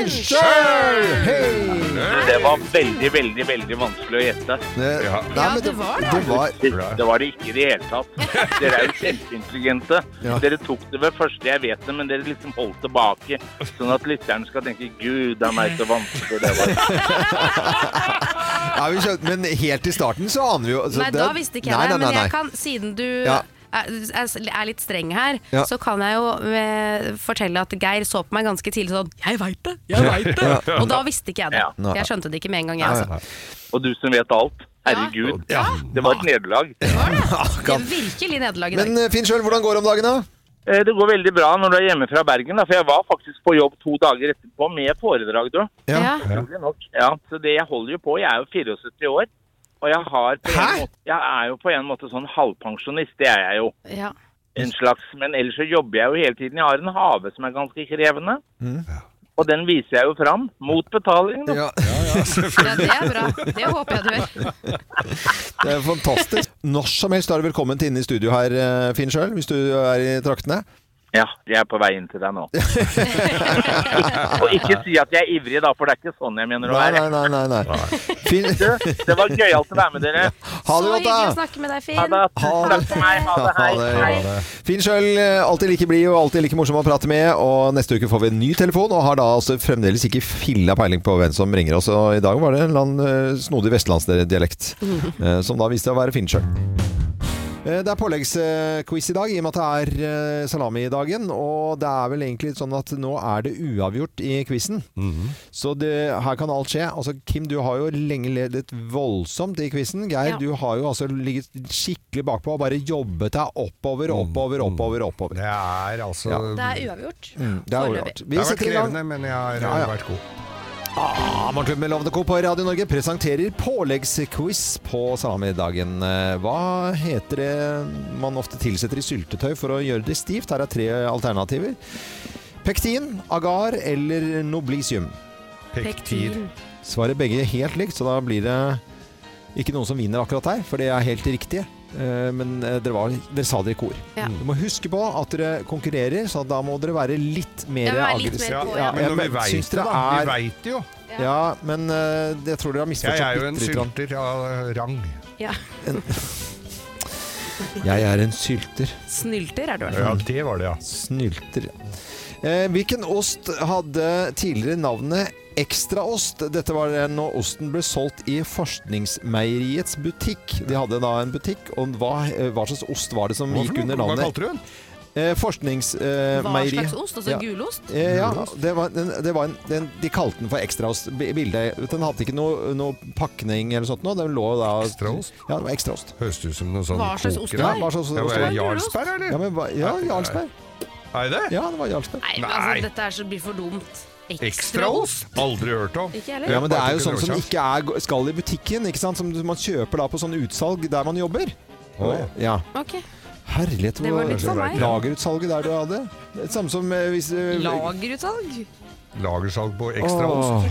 S1: Fincher! Hei!
S6: Det var veldig, veldig veldig vanskelig å gjette.
S1: Det-
S3: Ja.
S1: nei,
S2: Ja,
S1: men
S2: det var det.
S1: det var
S6: Det, det var det ikke i det hele tatt. Dere er jo kjempeintelligente.
S1: Ja.
S6: Dere tok det ved første, jeg vet det, men dere liksom holdt tilbake. Sånn at lytteren skal tenke 'Gud, det er meg så vanskelig det var'.
S1: ja, vi skjønte, Men helt i starten så aner vi jo altså,
S2: Nei,
S1: det-
S2: da visste ikke jeg
S1: Nei,
S2: det,
S1: nei, nei,
S2: men jeg
S1: nei.
S2: kan, siden du
S1: Ja.
S2: er, er litt streng her,
S1: Ja.
S2: så kan jeg jo eh, fortelle at Geir så på meg ganske tidlig sånn 'Jeg veit det! Jeg veit det!' Og da visste ikke jeg det.
S6: Ja.
S1: Nei.
S2: Jeg skjønte det ikke med en gang, jeg. Altså.
S6: Og du som vet alt. Herregud.
S1: Ja.
S6: Det var et nederlag.
S2: Det er virkelig nederlag i dag.
S1: Men eh, Finn sjøl, hvordan går det om dagen, da?
S6: Eh, Det går veldig bra når du er hjemme fra Bergen, da, for jeg var faktisk på jobb to dager etterpå med foredrag, du.
S1: Ja.
S2: Ja.
S6: Utrolig nok. Ja, så det jeg holder jo på, jeg er jo 74 år, og jeg, har på
S1: Hæ?
S6: en måte, jeg er jo på en måte sånn halvpensjonist, det er jeg jo.
S2: Ja.
S6: En slags, men ellers så jobber jeg jo hele tiden. Jeg har en have som er ganske krevende, og den viser jeg jo fram, mot betaling. da.
S1: Mm. Ja.
S2: Ja, det er bra. Det håper jeg du gjør.
S1: Det er fantastisk. Når som helst er du velkommen til inne i studio her, eh, Finn sjøl, hvis du er i traktene.
S6: Ja, jeg er på vei inn til deg nå. og ikke si at jeg er ivrig, da, for det er ikke sånn jeg mener å
S1: Nei,
S6: være.
S1: nei, nei. nei, nei. Finn, ha
S6: Du, Det var gøyalt å være med dere.
S2: Så
S1: det godt,
S2: hyggelig å
S1: da!
S2: snakke med deg,
S6: Ha
S2: Finn.
S6: det. Tusen takk for meg. Ha det. Hei. Hei.
S1: ha det. Finn sjøl, eh, alltid like blid og alltid like morsom å prate med. Og neste uke får vi en ny telefon, og har da altså fremdeles ikke filla peiling på hvem som ringer oss. Og i dag var det en eller annen eh, snodig vestlandsdialekt, eh, som da viste seg å være Finn sjøl. Eh, Det er påleggsquiz i dag, i og med at det er eh, salami-dagen. Og det er vel egentlig sånn at nå er det uavgjort i quizen. Så det, her kan alt skje. Altså, Kim, du har jo lenge ledet voldsomt i quizen. Geir,
S2: Ja.
S1: du har jo altså ligget skikkelig bakpå og bare jobbet deg oppover, oppover, oppover. oppover.
S3: Mm. Det er altså
S1: Ja.
S2: Det er uavgjort.
S1: Det er jo
S2: Foreløpig.
S1: rart.
S3: Det
S1: Vi
S3: har vært
S1: setter i gang.
S3: krevende, men jeg har
S1: Ja, ja.
S3: vært god.
S1: Ah, Morgenklubben med Lovende Co. på Radio Norge presenterer påleggsquiz på salami-dagen. Eh, Hva heter det man ofte tilsetter i syltetøy for å gjøre det stivt? Her er tre alternativer. Pektin, agar eller noblisium.
S3: Pektir.
S1: Svarer begge helt likt, så da blir det ikke noen som vinner akkurat her, for det er helt riktig. Eh, Men eh, dere, var, dere sa det i kor.
S2: Ja.
S1: Du må huske på at dere konkurrerer, så da må dere være litt mer
S2: Ja, være litt mer
S1: aggressive.
S3: Ja,
S2: på,
S1: ja.
S3: men når vi
S1: Jeg syns
S3: veit det,
S1: dere
S3: da. Vi
S1: er-
S3: veit det jo.
S1: Ja, men eh, jeg tror dere har
S3: Jeg er
S1: misforstått
S3: jo en
S1: bitte lite grann.
S3: sylter av eh, rang.
S1: Jeg er en sylter.
S2: Snylter er du, i hvert
S3: Ja, det var det, ja.
S1: Snylter. Eh, hvilken ost hadde tidligere navnet Ekstraost? Dette var det når osten ble solgt i Forskningsmeieriets butikk. De hadde da en butikk, og hva, eh, hva slags ost var det som
S3: Hva for
S1: gikk
S3: noe?
S1: under
S3: Hva
S1: navnet
S3: kalte du den?
S1: eh,
S2: fall. Hva
S1: Forskningsmeieri?
S2: slags ost? Altså
S1: Ja.
S2: gulost?
S1: Eh, ja, det var, den, det var en, den, de kalte den for ekstraost. B- Bildet, den hadde ikke noe, noe pakning eller sånt noe. Den lå da
S3: Ekstraost?
S1: Ja, det var ekstraost.
S3: Høres ut som noe sånn
S2: Hva slags ost
S3: kokere.
S2: det
S1: Ja,
S2: var?
S1: hva slags ost
S3: Det var
S1: var det?
S3: Jarlsberg,
S1: Ja,
S3: eller?
S1: men, hva- ja, Jarlsberg.
S3: Er det?
S1: Ja, det var Jarlsberg.
S2: Nei, men altså,
S3: Nei.
S2: dette er så, blir for dumt.
S3: Ekstraost? Aldri hørt om.
S2: Ikke heller.
S1: Ja, men det er jo
S3: Bare
S1: sånn som
S3: kulturkjaft.
S1: ikke er, skal i butikken, ikke sant? Som man kjøper da på sånn utsalg der man jobber.
S3: Å.
S1: Ja.
S2: Ok.
S1: Herlighet
S2: Det var litt for meg.
S1: lagerutsalget der du hadde. Det er samme som eh, hvis eh,
S2: Lagerutsalg?
S3: Lagersalg på ekstraost.
S1: Åh.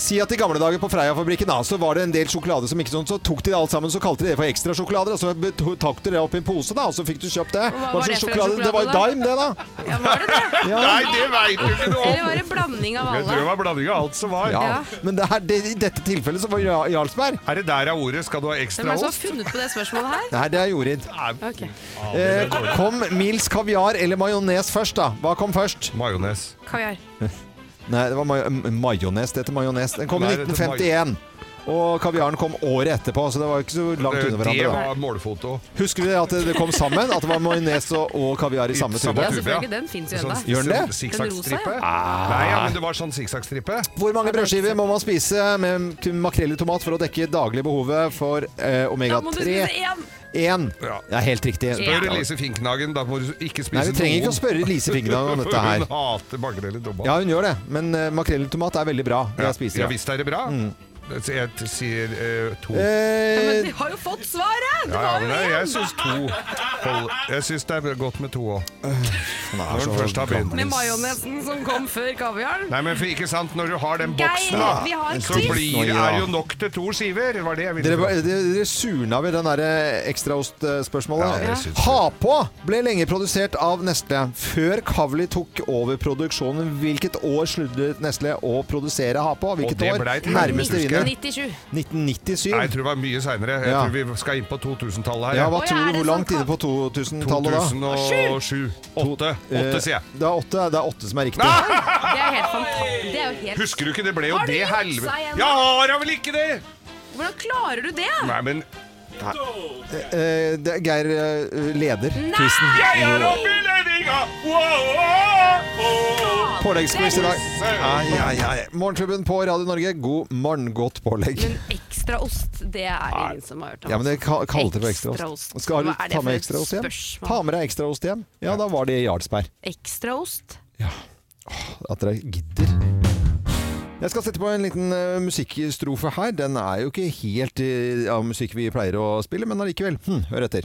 S1: Si at i gamle dager på Freia-fabrikken da, så var det en del sjokolade som ikke sånn, så tok de det alt sammen, så kalte de det for ekstra sjokolader, og så tok de det opp i en pose da, og så fikk du kjøpt det.
S2: Hva
S1: Hva
S2: var det for
S1: slags
S2: en
S1: sjokolade? Det var
S2: sjokolade, da?
S1: Dime det da.
S2: Ja, var det det?
S3: Nei, det veit du ikke noe
S2: Eller
S3: om!
S2: var det en blanding av
S3: Jeg tror det
S2: alle?
S3: var blanding av alt som var.
S1: Ja.
S2: Ja.
S1: Men det her, det, i dette tilfellet så var det Jarlsberg.
S3: Er det der av ordet 'skal du ha
S2: Hvem er det som har
S3: ekstraost'?
S2: funnet på det spørsmålet her?
S1: Nei, det er Jorid.
S2: Ok.
S1: Eh, kom Mils kaviar eller majones først, da? Hva kom først?
S3: Majones.
S2: Kaviar.
S1: Nei, det var ma m- majones. Det heter majones. Den kom i
S3: Nei, det heter
S1: 1951. Og kaviaren kom året etterpå, så det var ikke så langt under
S3: Det Eh, det
S1: hverandre. da.
S3: var målfoto.
S1: Husker du det at det kom sammen? At det var majones og, og kaviar i samme tube?
S3: Samme
S2: Ja,
S3: tube. Sånn
S2: selvfølgelig. Den fins
S3: Altså,
S2: jo ennå.
S1: Gjør den det? Ah.
S3: Sikksakkstripe?
S2: Den rosa,
S3: Nei, ja, men det var sånn sikksakkstripe.
S1: Hvor mange brødskiver må man spise med makrell i tomat for å dekke daglig behovet for eh,
S2: Da må du
S1: omega-3?
S2: spise én!
S1: Én.
S3: Ja.
S1: Ja, helt riktig.
S3: Spør Elise Finknagen, da må du ikke spise
S1: Nei, vi trenger ikke å spørre Lise Fingerdal om dette her.
S3: Hun hater makrell i tomat.
S1: Ja, hun gjør det, men eh, makrell i tomat er veldig bra. Jeg spiser
S3: ja
S1: det.
S3: visst er det bra. Så Jeg sier eh, to.
S2: Ja,
S1: Eh,
S2: Men de har jo fått svaret! Det
S3: Ja, ja,
S2: var
S3: men
S2: jo
S3: jeg,
S2: én!
S3: jeg syns to hold. Jeg syns det er godt med to òg.
S1: Når
S3: den først har begynt.
S2: Med majonesen som kom før kaviaren.
S3: Nei, men for ikke sant, når du har den boksen,
S2: Geir,
S3: da,
S2: vi har en
S3: så
S2: quiz.
S1: Nå,
S3: blir det
S1: ja.
S3: er jo nok til to skiver. Det var det jeg ville
S1: Dere,
S3: si.
S1: dere, dere surna ved den der ekstraostspørsmålet.
S3: Ja, jeg synes det.
S1: ha på ble lenge produsert av Nestle. Før Kavli tok over produksjonen, hvilket år sluttet Nestle å produsere ha på? Hvilket
S3: det
S1: år?
S3: ble et
S1: Nærmeste
S3: helvete,
S1: vinner.
S2: 97.
S1: 1997.
S3: Nei, jeg tror det var mye seinere. Jeg
S1: Ja.
S3: tror vi skal inn på 2000-tallet her.
S1: Ja,
S2: Å,
S1: hva
S2: ja,
S1: tror
S2: er
S1: du?
S2: det
S1: Hvor langt
S2: sånn
S1: inne på to- 2000-tallet da? eh,
S3: 2007. Åtte. Åtte, sier jeg.
S1: Det er åtte, det er åtte som er riktig.
S2: Det er helt fantastisk. Det er jo helt
S3: Husker du ikke? Det ble jo
S2: Har du
S3: det
S2: juksa
S3: helvete
S2: igjen, da?
S3: Jeg har da vel ikke det!
S2: Hvordan klarer du det?
S3: Nei, men
S1: Eh, det er Geir eh, leder
S3: Jeg er
S1: quizen.
S3: oppe i ledninga! Wow, wow, wow.
S1: Påleggsquiz i dag.
S3: er-
S1: Ai, ai, ai. Morgenklubben på Radio Norge, god morgen, godt pålegg.
S2: Men ekstra ost, det er det ingen som har hørt om.
S1: Ja, men det ka- kalte for
S2: altså, Ekstra
S1: ekstraost.
S2: ost.
S1: Skal du
S2: Hva er det
S1: ta
S2: for
S1: med
S2: et
S1: ekstraost hjem?
S2: spørsmål?
S1: Ta med deg ekstraost hjem. Ja, da var det i Jarlsberg.
S2: Ekstraost?
S1: At dere gidder. Jeg skal sette på en liten eh, musikkstrofe her. Den er jo ikke helt eh, av musikk vi pleier å spille, men allikevel. Hm, hør etter.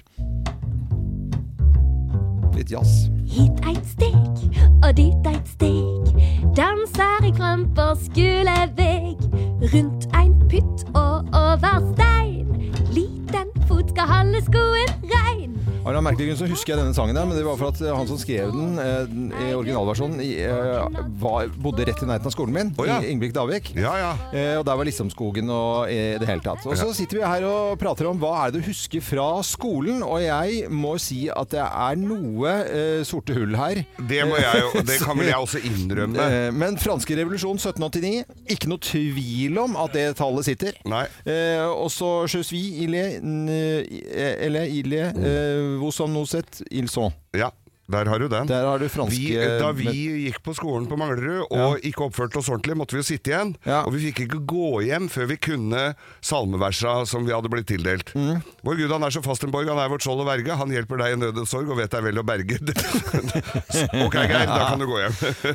S1: Litt jazz.
S7: Hit eit steg, og dit eit steg. Danser i kramper, skulevegg. Rundt ein pytt og over stein. Liten fot skal holde skoen rein.
S1: Av en eller annen merkelig grunn så husker jeg denne sangen der, men det var for at eh, han som skrev den eh, i originalversjonen, i, eh, var, bodde rett i nærheten av skolen min.
S3: Å, ja.
S1: I- Ingebrigt Davik.
S3: Ja, ja.
S1: Eh, og der var Lissamskogen og eh, i det hele tatt. Og så sitter vi her og prater om hva er det du husker fra skolen, og jeg må si at det er noe eh, sorte hull her.
S3: Det, må jeg jo, det kan vel jeg også innrømme.
S1: Eh, Men franske revolusjon 1789, ikke noe tvil om at det tallet sitter.
S3: Nei.
S1: Eh, og så je suis il est n- eh, Eller il est eh, vous en nous et ils sont.
S3: Ja, der har du den.
S1: Der har du franske eh,
S3: vi, da vi gikk på skolen på Manglerud og ikke oppførte oss ordentlig, måtte vi jo sitte igjen.
S1: Ja.
S3: Og vi fikk ikke gå hjem før vi kunne salmeversa som vi hadde blitt tildelt.
S1: Mm.
S3: Vår Gud, han er som Fastenborg, han er vårt skjold og verge. Han hjelper deg i nød og sorg og vet deg vel å berge. ok, Geir, da kan du gå hjem.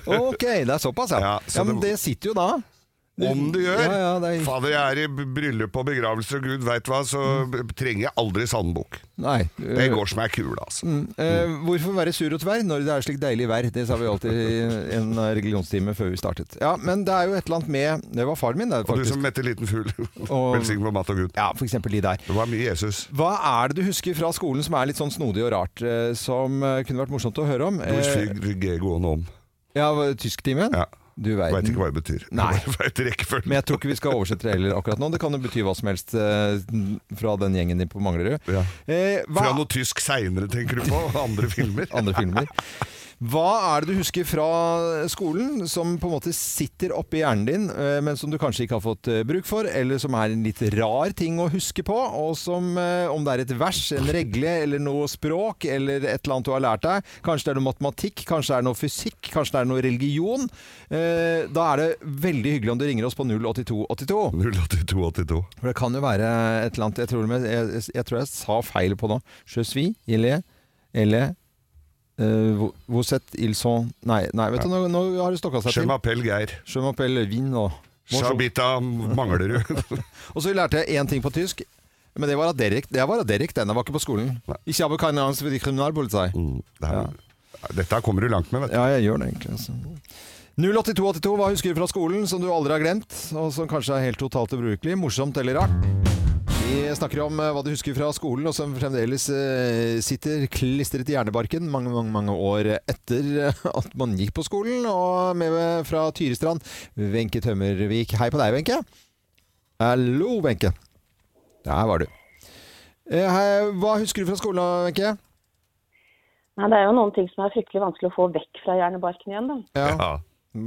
S1: Ok, det er såpass, ja.
S3: Ja,
S1: ja,
S3: så
S1: men
S3: det-
S1: det sitter jo da.
S3: Om du gjør!
S1: Ja, ja, det er-
S3: Fader, jeg er i b- bryllup og begravelse, og gud veit hva, så b- trenger jeg aldri salmebok.
S1: Mm. Nei.
S3: Det
S1: eh,
S3: går som ei kule, altså.
S1: eh, hvorfor være sur og tverr når det er slik deilig vær? Det sa vi alltid i en religionstime før vi startet. Ja, Men det er jo et eller annet med Det var faren min, det,
S3: Og du
S1: faktisk.
S3: som metter liten fugl,
S1: Og-
S3: velsign vår mat og Gud.
S1: Ja, for eksempel de der.
S3: Det var mye Jesus.
S1: Hva er det du husker fra skolen som er litt sånn snodig og rart, eh, som eh, kunne vært morsomt å høre om?
S3: Doris
S1: Eh,
S3: Fyg gående om.
S1: ja, hva- Tysktimen?
S3: Ja.
S1: Du
S3: Veit
S1: verden.
S3: ikke hva det betyr.
S1: Nei.
S3: Jeg Vet rekkefølgen.
S1: Men jeg tror ikke vi skal oversette det heller akkurat nå. Det kan jo bety hva som helst eh, fra den gjengen din på Manglerud.
S3: Ja.
S1: Eh,
S3: Fra
S1: hva,
S3: noe tysk seinere, tenker du på? og Andre filmer?
S1: andre filmer. Hva er det du husker fra skolen som på en måte sitter oppi hjernen din, eh, men som du kanskje ikke har fått eh, bruk for, eller som er en litt rar ting å huske på, og som, eh, om det er et vers, en regle, eller noe språk, eller et eller annet du har lært deg, kanskje det er noe matematikk, kanskje det er noe fysikk, kanskje det er noe religion, eh, da er det veldig hyggelig om du ringer oss på 08282.
S3: 08282.
S1: For det kan jo være et eller annet Jeg tror, jeg, jeg, jeg, tror jeg sa feil på nå. Je suis, il est, elle uh, Vous êtes, ils sont Nei, nei vet du, nå, nå har det stokka seg
S3: Je
S1: til.
S3: m'appelle Geir.
S1: Je m'appelle Vin og Bonjour.
S3: Shabita Manglerud.
S1: Og så lærte jeg én ting på tysk. Men det var av Derek. Det var av Derek, denne var ikke på skolen. Ikke av Kainans for de kriminalpolitiet.
S3: Mm, det er- Dette kommer du langt med, vet du.
S1: Ja, jeg gjør det egentlig. Altså. 08282, hva husker du fra skolen som du aldri har glemt, og som kanskje er helt totalt ubrukelig? Morsomt eller rart? Vi snakker om eh, hva du husker fra skolen, og som fremdeles eh, sitter klistret i hjernebarken mange, mange, mange år etter eh, at man gikk på skolen. Og med meg fra Tyrestrand, Wenche Tømmervik. Hei på deg, Wenche. Hallo, Wenche. Der var du. Eh, Hei, hva husker du fra skolen, da, Wenche?
S8: Nei, Det er jo noen ting som er fryktelig vanskelig å få vekk fra hjernebarken igjen. da.
S1: Ja.
S3: Ja.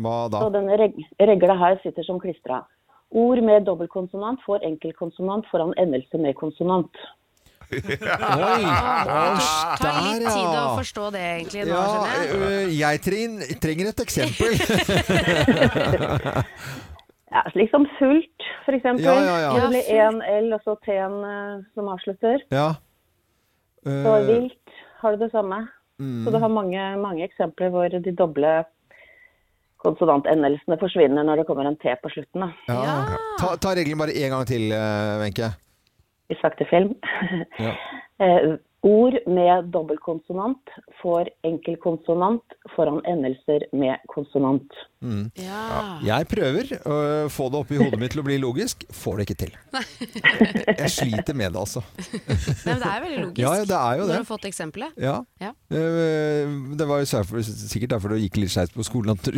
S1: Hva da?
S8: Så denne reg regla her sitter som klistra. Ord med dobbeltkonsonant får enkeltkonsonant foran endelse med konsonant.
S1: Oi!
S2: Det tar litt
S1: Ah, Der, ja.
S2: tid å forstå det, egentlig. Nå,
S1: Ja, eh,
S2: skjønner jeg.
S1: ø, jeg trin, trenger et eksempel.
S8: Ja, slik som sult, f.eks.
S1: Ja, ja, ja.
S8: Det blir én L og så T-en eh, som avslutter.
S1: ja.
S8: Så
S1: Eh, Mm.
S8: vilt har du det samme. Så du har mange, mange eksempler hvor de doble konsonantendelsene forsvinner når det kommer en T på slutten. da.
S1: Mm, ja. Ta, ta regelen bare én gang til, eh, Wenche.
S8: Vi snakket film.
S1: Ja.
S8: Eh, Ord med dobbeltkonsonant får enkeltkonsonant foran endelser med konsonant.
S1: Mm. Jeg prøver å få det opp i hodet mitt til å bli logisk. Får det ikke til. Jeg, jeg sliter med det, altså.
S2: Nei, men det er veldig logisk.
S1: Ja, ja, det er jo
S2: Når
S1: det.
S2: du har fått eksempelet.
S1: Ja.
S2: Ja.
S1: Eh, Det var jo særfor- sikkert derfor det gikk litt skeis på skolen. At du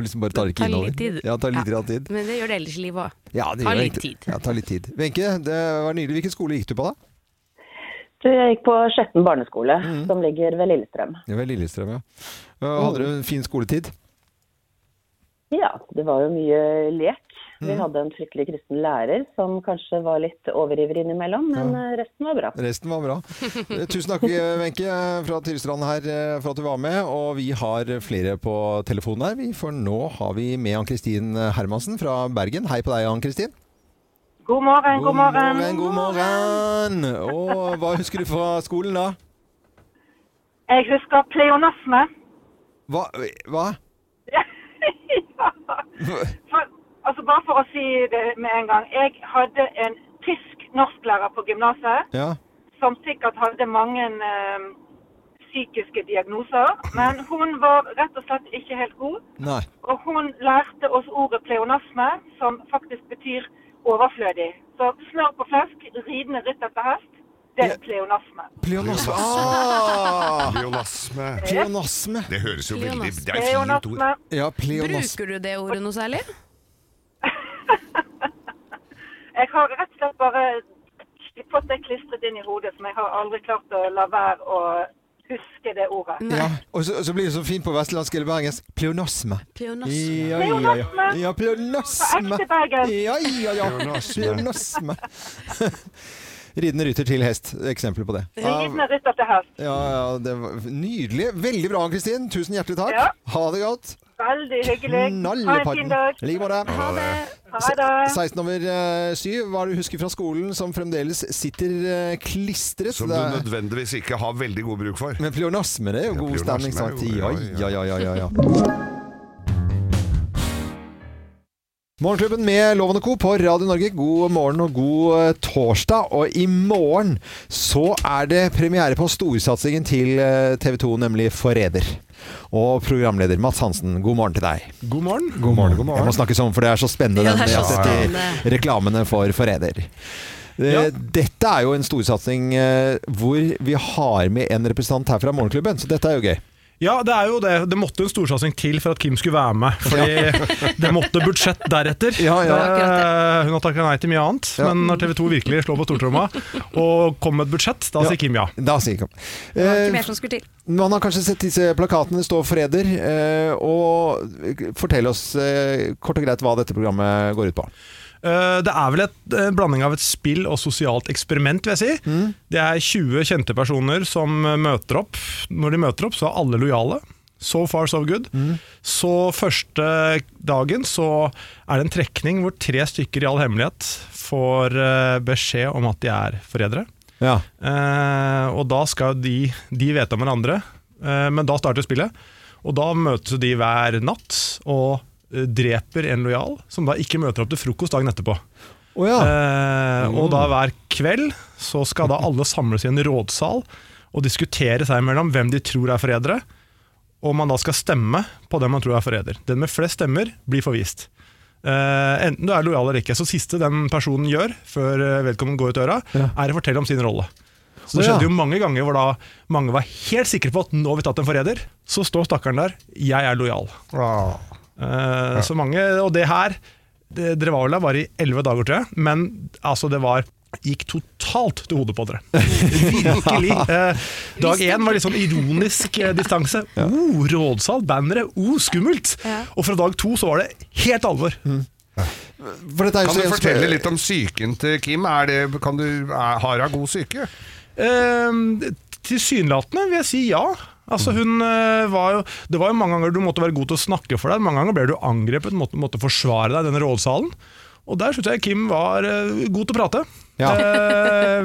S1: liksom bare tar det ikke
S2: Det tar litt
S1: innover.
S2: tid.
S1: Ja, det tar litt
S2: Ja.
S1: grann tid.
S2: Men det gjør det ellers i livet òg.
S1: Ja, det
S2: Tar
S1: gjør
S2: litt
S1: egentlig-
S2: tid.
S1: Ja, tar litt tid. Wenche, det var nydelig. Hvilken skole gikk du på da?
S8: Du, Jeg gikk på Skjetten barneskole, som ligger ved Lillestrøm.
S1: Det var Lillestrøm, ja. Eh,
S9: Oh.
S1: Hadde du en fin skoletid?
S8: Ja, det var jo mye lek. Vi hadde en fryktelig kristen lærer som kanskje var litt overivrig innimellom, men eh, resten var bra.
S1: Resten var bra. Eh, Tusen takk, eh, Wenche, fra Tyrestrand her eh, for at du var med. Og vi har flere på telefonen her, vi, for nå har vi med Ann-Kristin eh, Hermansen fra Bergen. Hei på deg, Ann-Kristin.
S9: God morgen, god morgen.
S1: God morgen! Og hva husker du fra skolen, da?
S9: Jeg husker pleonasme.
S1: Hva? hva?
S9: For, altså bare for å si det med en gang. Jeg hadde en tysk norsklærer på gymnaset
S1: Ja.
S9: som sikkert hadde mange eh, psykiske diagnoser, men hun var rett og slett ikke helt god.
S1: Nei.
S9: Og hun lærte oss ordet pleonasme, som faktisk betyr overflødig. Så smør på flesk, ridende rytter på hest, det er pleonasme.
S1: Pleonasme. Ah!
S3: Pleonasme.
S1: Pleonasme.
S3: Det høres jo veldig
S2: Pleonasme.
S3: Det er et fint ord.
S9: Pleonasme.
S1: Ja, pleonasme.
S2: Bruker du det ordet noe særlig?
S9: Jeg har rett og slett bare fått det klistret inn i hodet, som jeg har aldri klart å la være å huske det ordet.
S1: Ja. Og så, og så blir det så fint på vestlandsk eller bergensk. Pleonasme.
S2: Pleonasme.
S1: Ja, ja, ja.
S9: Pleonasme.
S1: ja, pleonasme.
S9: På ekte bergensk.
S1: Ja, ja, ja.
S3: Pleonasme.
S1: Pleonasme. Ridende rytter til hest. Eksempel på det.
S9: Ridende rytter til hest.
S1: Ja, ja, det var nydelig. Veldig bra, Kristin. Tusen hjertelig takk.
S9: Ja.
S1: Ha det godt.
S9: Veldig hyggelig. Ha en fin
S1: Knalleparten.
S9: dag.
S1: I like måte.
S2: Ha det.
S9: Ha det.
S1: 16 over eh, syv. Hva er det du husker fra skolen som fremdeles sitter eh, klistret?
S3: Som du
S1: Det er-
S3: nødvendigvis ikke har veldig god bruk for.
S1: Men pleonasme, det er jo
S3: Ja,
S1: god
S3: pleonasme
S1: stemning,
S3: er
S1: sant?
S3: jo-
S1: Ja, ja, ja,
S3: ja,
S1: ja, ja. Morgenklubben med Loven og Co. på Radio Norge, god morgen og god eh, torsdag. Og i morgen så er det premiere på storsatsingen til eh, TV 2, nemlig Forræder. Og programleder Mats Hansen, god morgen til deg.
S10: God morgen.
S1: Jeg må snakke sånn, for det er så spennende,
S2: Ja, det er så
S1: den jeg har sett i reklamene for Forræder. Eh,
S10: Ja.
S1: Dette er jo en storsatsing eh, hvor vi har med en representant her fra Morgenklubben, så dette er jo gøy.
S10: Ja, det er jo det. Det måtte en storsatsing til for at Kim skulle være med. Fordi det måtte budsjett deretter.
S1: Ja, ja.
S10: Eh, Hun har takka nei til mye annet, men når TV 2 virkelig slår på stortromma og kom med et budsjett, da sier Kim ja.
S1: Da sier Kim.
S2: Ikke
S1: Eh,
S2: mer som skulle til.
S1: man har kanskje sett disse plakatene stå 'Forræder'. Eh, og fortell oss eh, kort og greit hva dette programmet går ut på.
S10: Eh, Det er vel et, en blanding av et spill og sosialt eksperiment, vil jeg si. Det er 20 kjente personer som eh, møter opp. Når de møter opp, så er alle lojale. So far, so good. Så første dagen så er det en trekning hvor tre stykker i all hemmelighet får eh, beskjed om at de er forrædere.
S1: Ja.
S10: Eh, og da skal de De vet om hverandre, eh, men da starter spillet. Og da møtes de hver natt og eh, dreper en lojal, som da ikke møter opp til frokost dagen etterpå.
S1: Å ja. Mm.
S10: Eh, og da hver kveld så skal da alle samles i en rådsal og diskutere seg imellom hvem de tror er forrædere. Og man da skal stemme på den man tror er forræder. Den med flest stemmer blir forvist. Eh, enten du er lojal eller ikke. Så siste den personen gjør før eh, vedkommende går ut døra,
S1: Ja.
S10: er å fortelle om sin rolle. Så
S1: Å,
S10: det
S1: ja.
S10: skjedde jo mange ganger hvor da mange var helt sikre på at nå har vi tatt en forræder. Så står stakkaren der 'jeg er lojal'.
S3: Ah.
S10: Eh, Så mange, og det her det, Dere var vel der bare i elleve dager, tror jeg. Men altså, det var gikk totalt til hodet på dere. Virkelig. Eh, dag én var litt sånn ironisk eh, distanse. Oh, rådsal, bannere, oh, skummelt!
S2: Ja.
S10: Og fra dag to så var det helt alvor.
S1: For dette er jo
S3: Kan
S1: så
S3: du
S1: en-
S3: fortelle litt om psyken til Kim? Er det, kan du, er, har hun god psyke?
S10: Eh, Tilsynelatende vil jeg si ja. Altså hun eh, var jo, Det var jo mange ganger du måtte være god til å snakke for deg. Mange ganger ble du angrepet, måtte, måtte forsvare deg i denne rådsalen. Og der syns jeg Kim var eh, god til å prate.
S1: Ja.
S10: Eh,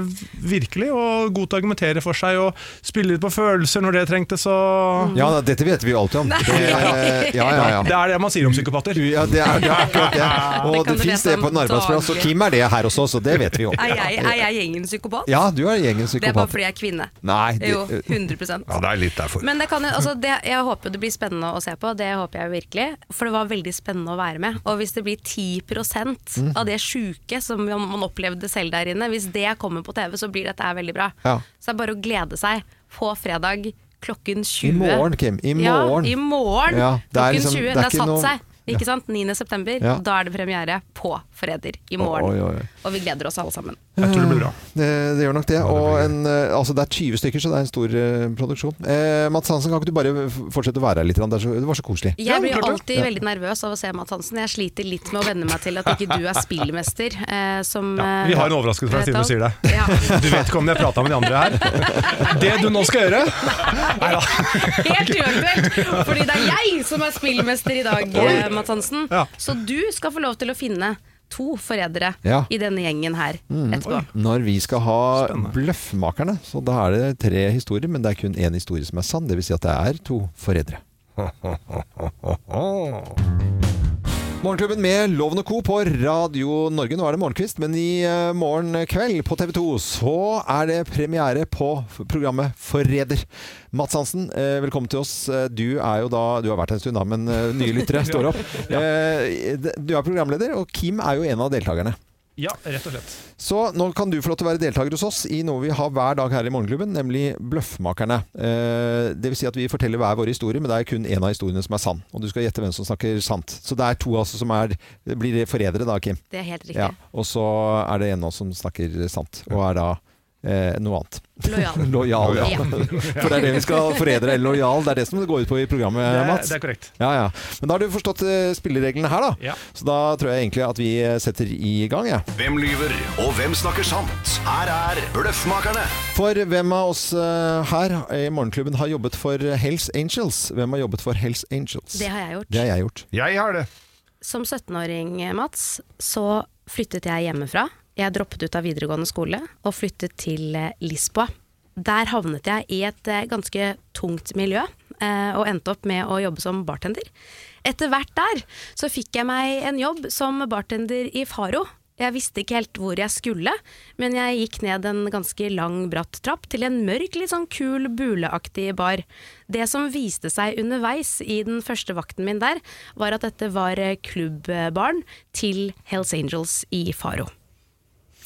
S10: virkelig. Og god til å argumentere for seg og spille litt på følelser når det trengtes.
S2: Mm. Mhm.
S10: Og
S1: Ja, da, dette vet vi jo alltid om. Det, eh, ja, ja, ja.
S10: Det er det man sier om psykopater.
S1: Ja, det er, det er akkurat det. Og
S2: Det
S1: det,
S2: kan du
S1: finnes
S2: lese
S1: det på
S2: om
S1: en arbeidsplass, og
S2: daglig.
S1: Kim er det her også, så det vet vi jo.
S2: Er jeg, er jeg gjengen psykopat?
S1: Ja, du er
S2: Det
S1: gjengens
S2: er bare
S1: psykopat.
S2: fordi jeg er kvinne.
S1: Nei, det,
S2: Jo, 100
S3: Ja, det er litt derfor.
S2: Men det kan, jo- altså det, jeg håper jo det blir spennende å se på. Det håper jeg virkelig. For det var veldig spennende å være med. Og hvis det blir 10
S1: Mm.
S2: av det sjuke som man man opplevde selv der inne, hvis det kommer på TV, så blir dette her veldig bra.
S1: Ja.
S2: Så det er bare å glede seg på fredag klokken 20.
S1: I morgen, Kim. I morgen.
S2: Ja, i morgen
S1: Ja, det er
S2: klokken 20.
S1: liksom- det er
S2: Det har
S1: ikke
S2: satt
S1: noe-
S2: seg. Ikke sant? 9. september,
S1: Ja.
S2: da er det premiere på Forræder i morgen.
S1: Oi, oi, oi.
S2: Og vi gleder oss alle sammen.
S10: Jeg tror det blir bra.
S1: det, eh, det gjør nok det. Og en, eh, altså det er 20 stykker, så det er en stor eh, produksjon. Eh, Mats Hansen, kan ikke du bare f- fortsette å være her litt? grann? Det, er så, det var så koselig.
S2: Jeg blir
S10: klart det.
S2: alltid veldig nervøs av å se Matt Hansen. Jeg sliter litt med å venne meg til at ikke du er spillmester. Eh, som,
S10: Ja,
S2: eh,
S10: vi har en overraskelse for deg siden du sier det.
S2: Ja.
S10: Du vet ikke om jeg prata med de andre her. Det du nå skal gjøre Neida.
S2: Helt uaktuelt! Fordi det er jeg som er spillmester i dag, eh, Matt Hansen.
S10: Ja.
S2: Så du skal få lov til å finne to forrædere
S1: Ja.
S2: i denne gjengen her
S10: Mm.
S2: etterpå.
S1: Mm. Når vi skal ha Bløffmakerne, så da er det tre historier, men det er kun én historie som er sann. Dvs. Si at det er to forrædere. Morgenklubben med Loven og Co. på Radio Norge. Nå er det morgenkvist, men i eh, morgen kveld på TV 2 så er det premiere på f- programmet Forræder. Mats Hansen, eh, velkommen til oss. Eh, Du er jo da Du har vært en stund da, men eh, nye lyttere står opp. Eh, d- Du er programleder, og Kim er jo en av deltakerne.
S10: Ja, rett og slett.
S1: Så nå kan du få lov til å være deltaker hos oss i noe vi har hver dag her i Morgenklubben, nemlig Bløffmakerne. Eh, det vil si at vi forteller hver våre historier, men det er kun én av historiene som er sann. Og du skal gjette hvem som snakker sant. Så det er to av oss som er, blir forrædere da, Kim.
S2: Det er helt riktig.
S1: Ja, og så er det en av oss som snakker sant, og er da eh, noe annet.
S2: Lojal.
S1: Lojal, ja.
S2: Ja.
S1: For det er det vi skal forrædere eller lojal. Det er det som det går ut på i programmet,
S10: Det er-
S1: Mats.
S10: det er korrekt.
S1: Ja, ja. Men da har du forstått eh, spillereglene her, da.
S10: Ja.
S1: Så da tror jeg egentlig at vi eh, setter i gang, jeg. Ja.
S11: Hvem lyver, og hvem snakker sant? Her er Bløffmakerne.
S1: For hvem av oss eh, her i Morgenklubben har jobbet for Hells Angels? Hvem har jobbet for Hells Angels?
S2: Det har jeg gjort.
S1: Det har jeg gjort.
S3: Jeg har det.
S2: Som 17-åring, Mats, så flyttet jeg hjemmefra. Jeg droppet ut av videregående skole og flyttet til eh, Lisboa. Der havnet jeg i et eh, ganske tungt miljø eh, og endte opp med å jobbe som bartender. Etter hvert der så fikk jeg meg en jobb som bartender i Faro. Jeg visste ikke helt hvor jeg skulle, men jeg gikk ned en ganske lang, bratt trapp til en mørk, litt sånn kul, buleaktig bar. Det som viste seg underveis i den første vakten min der, var at dette var eh, klubbbaren til Hells Angels i Faro.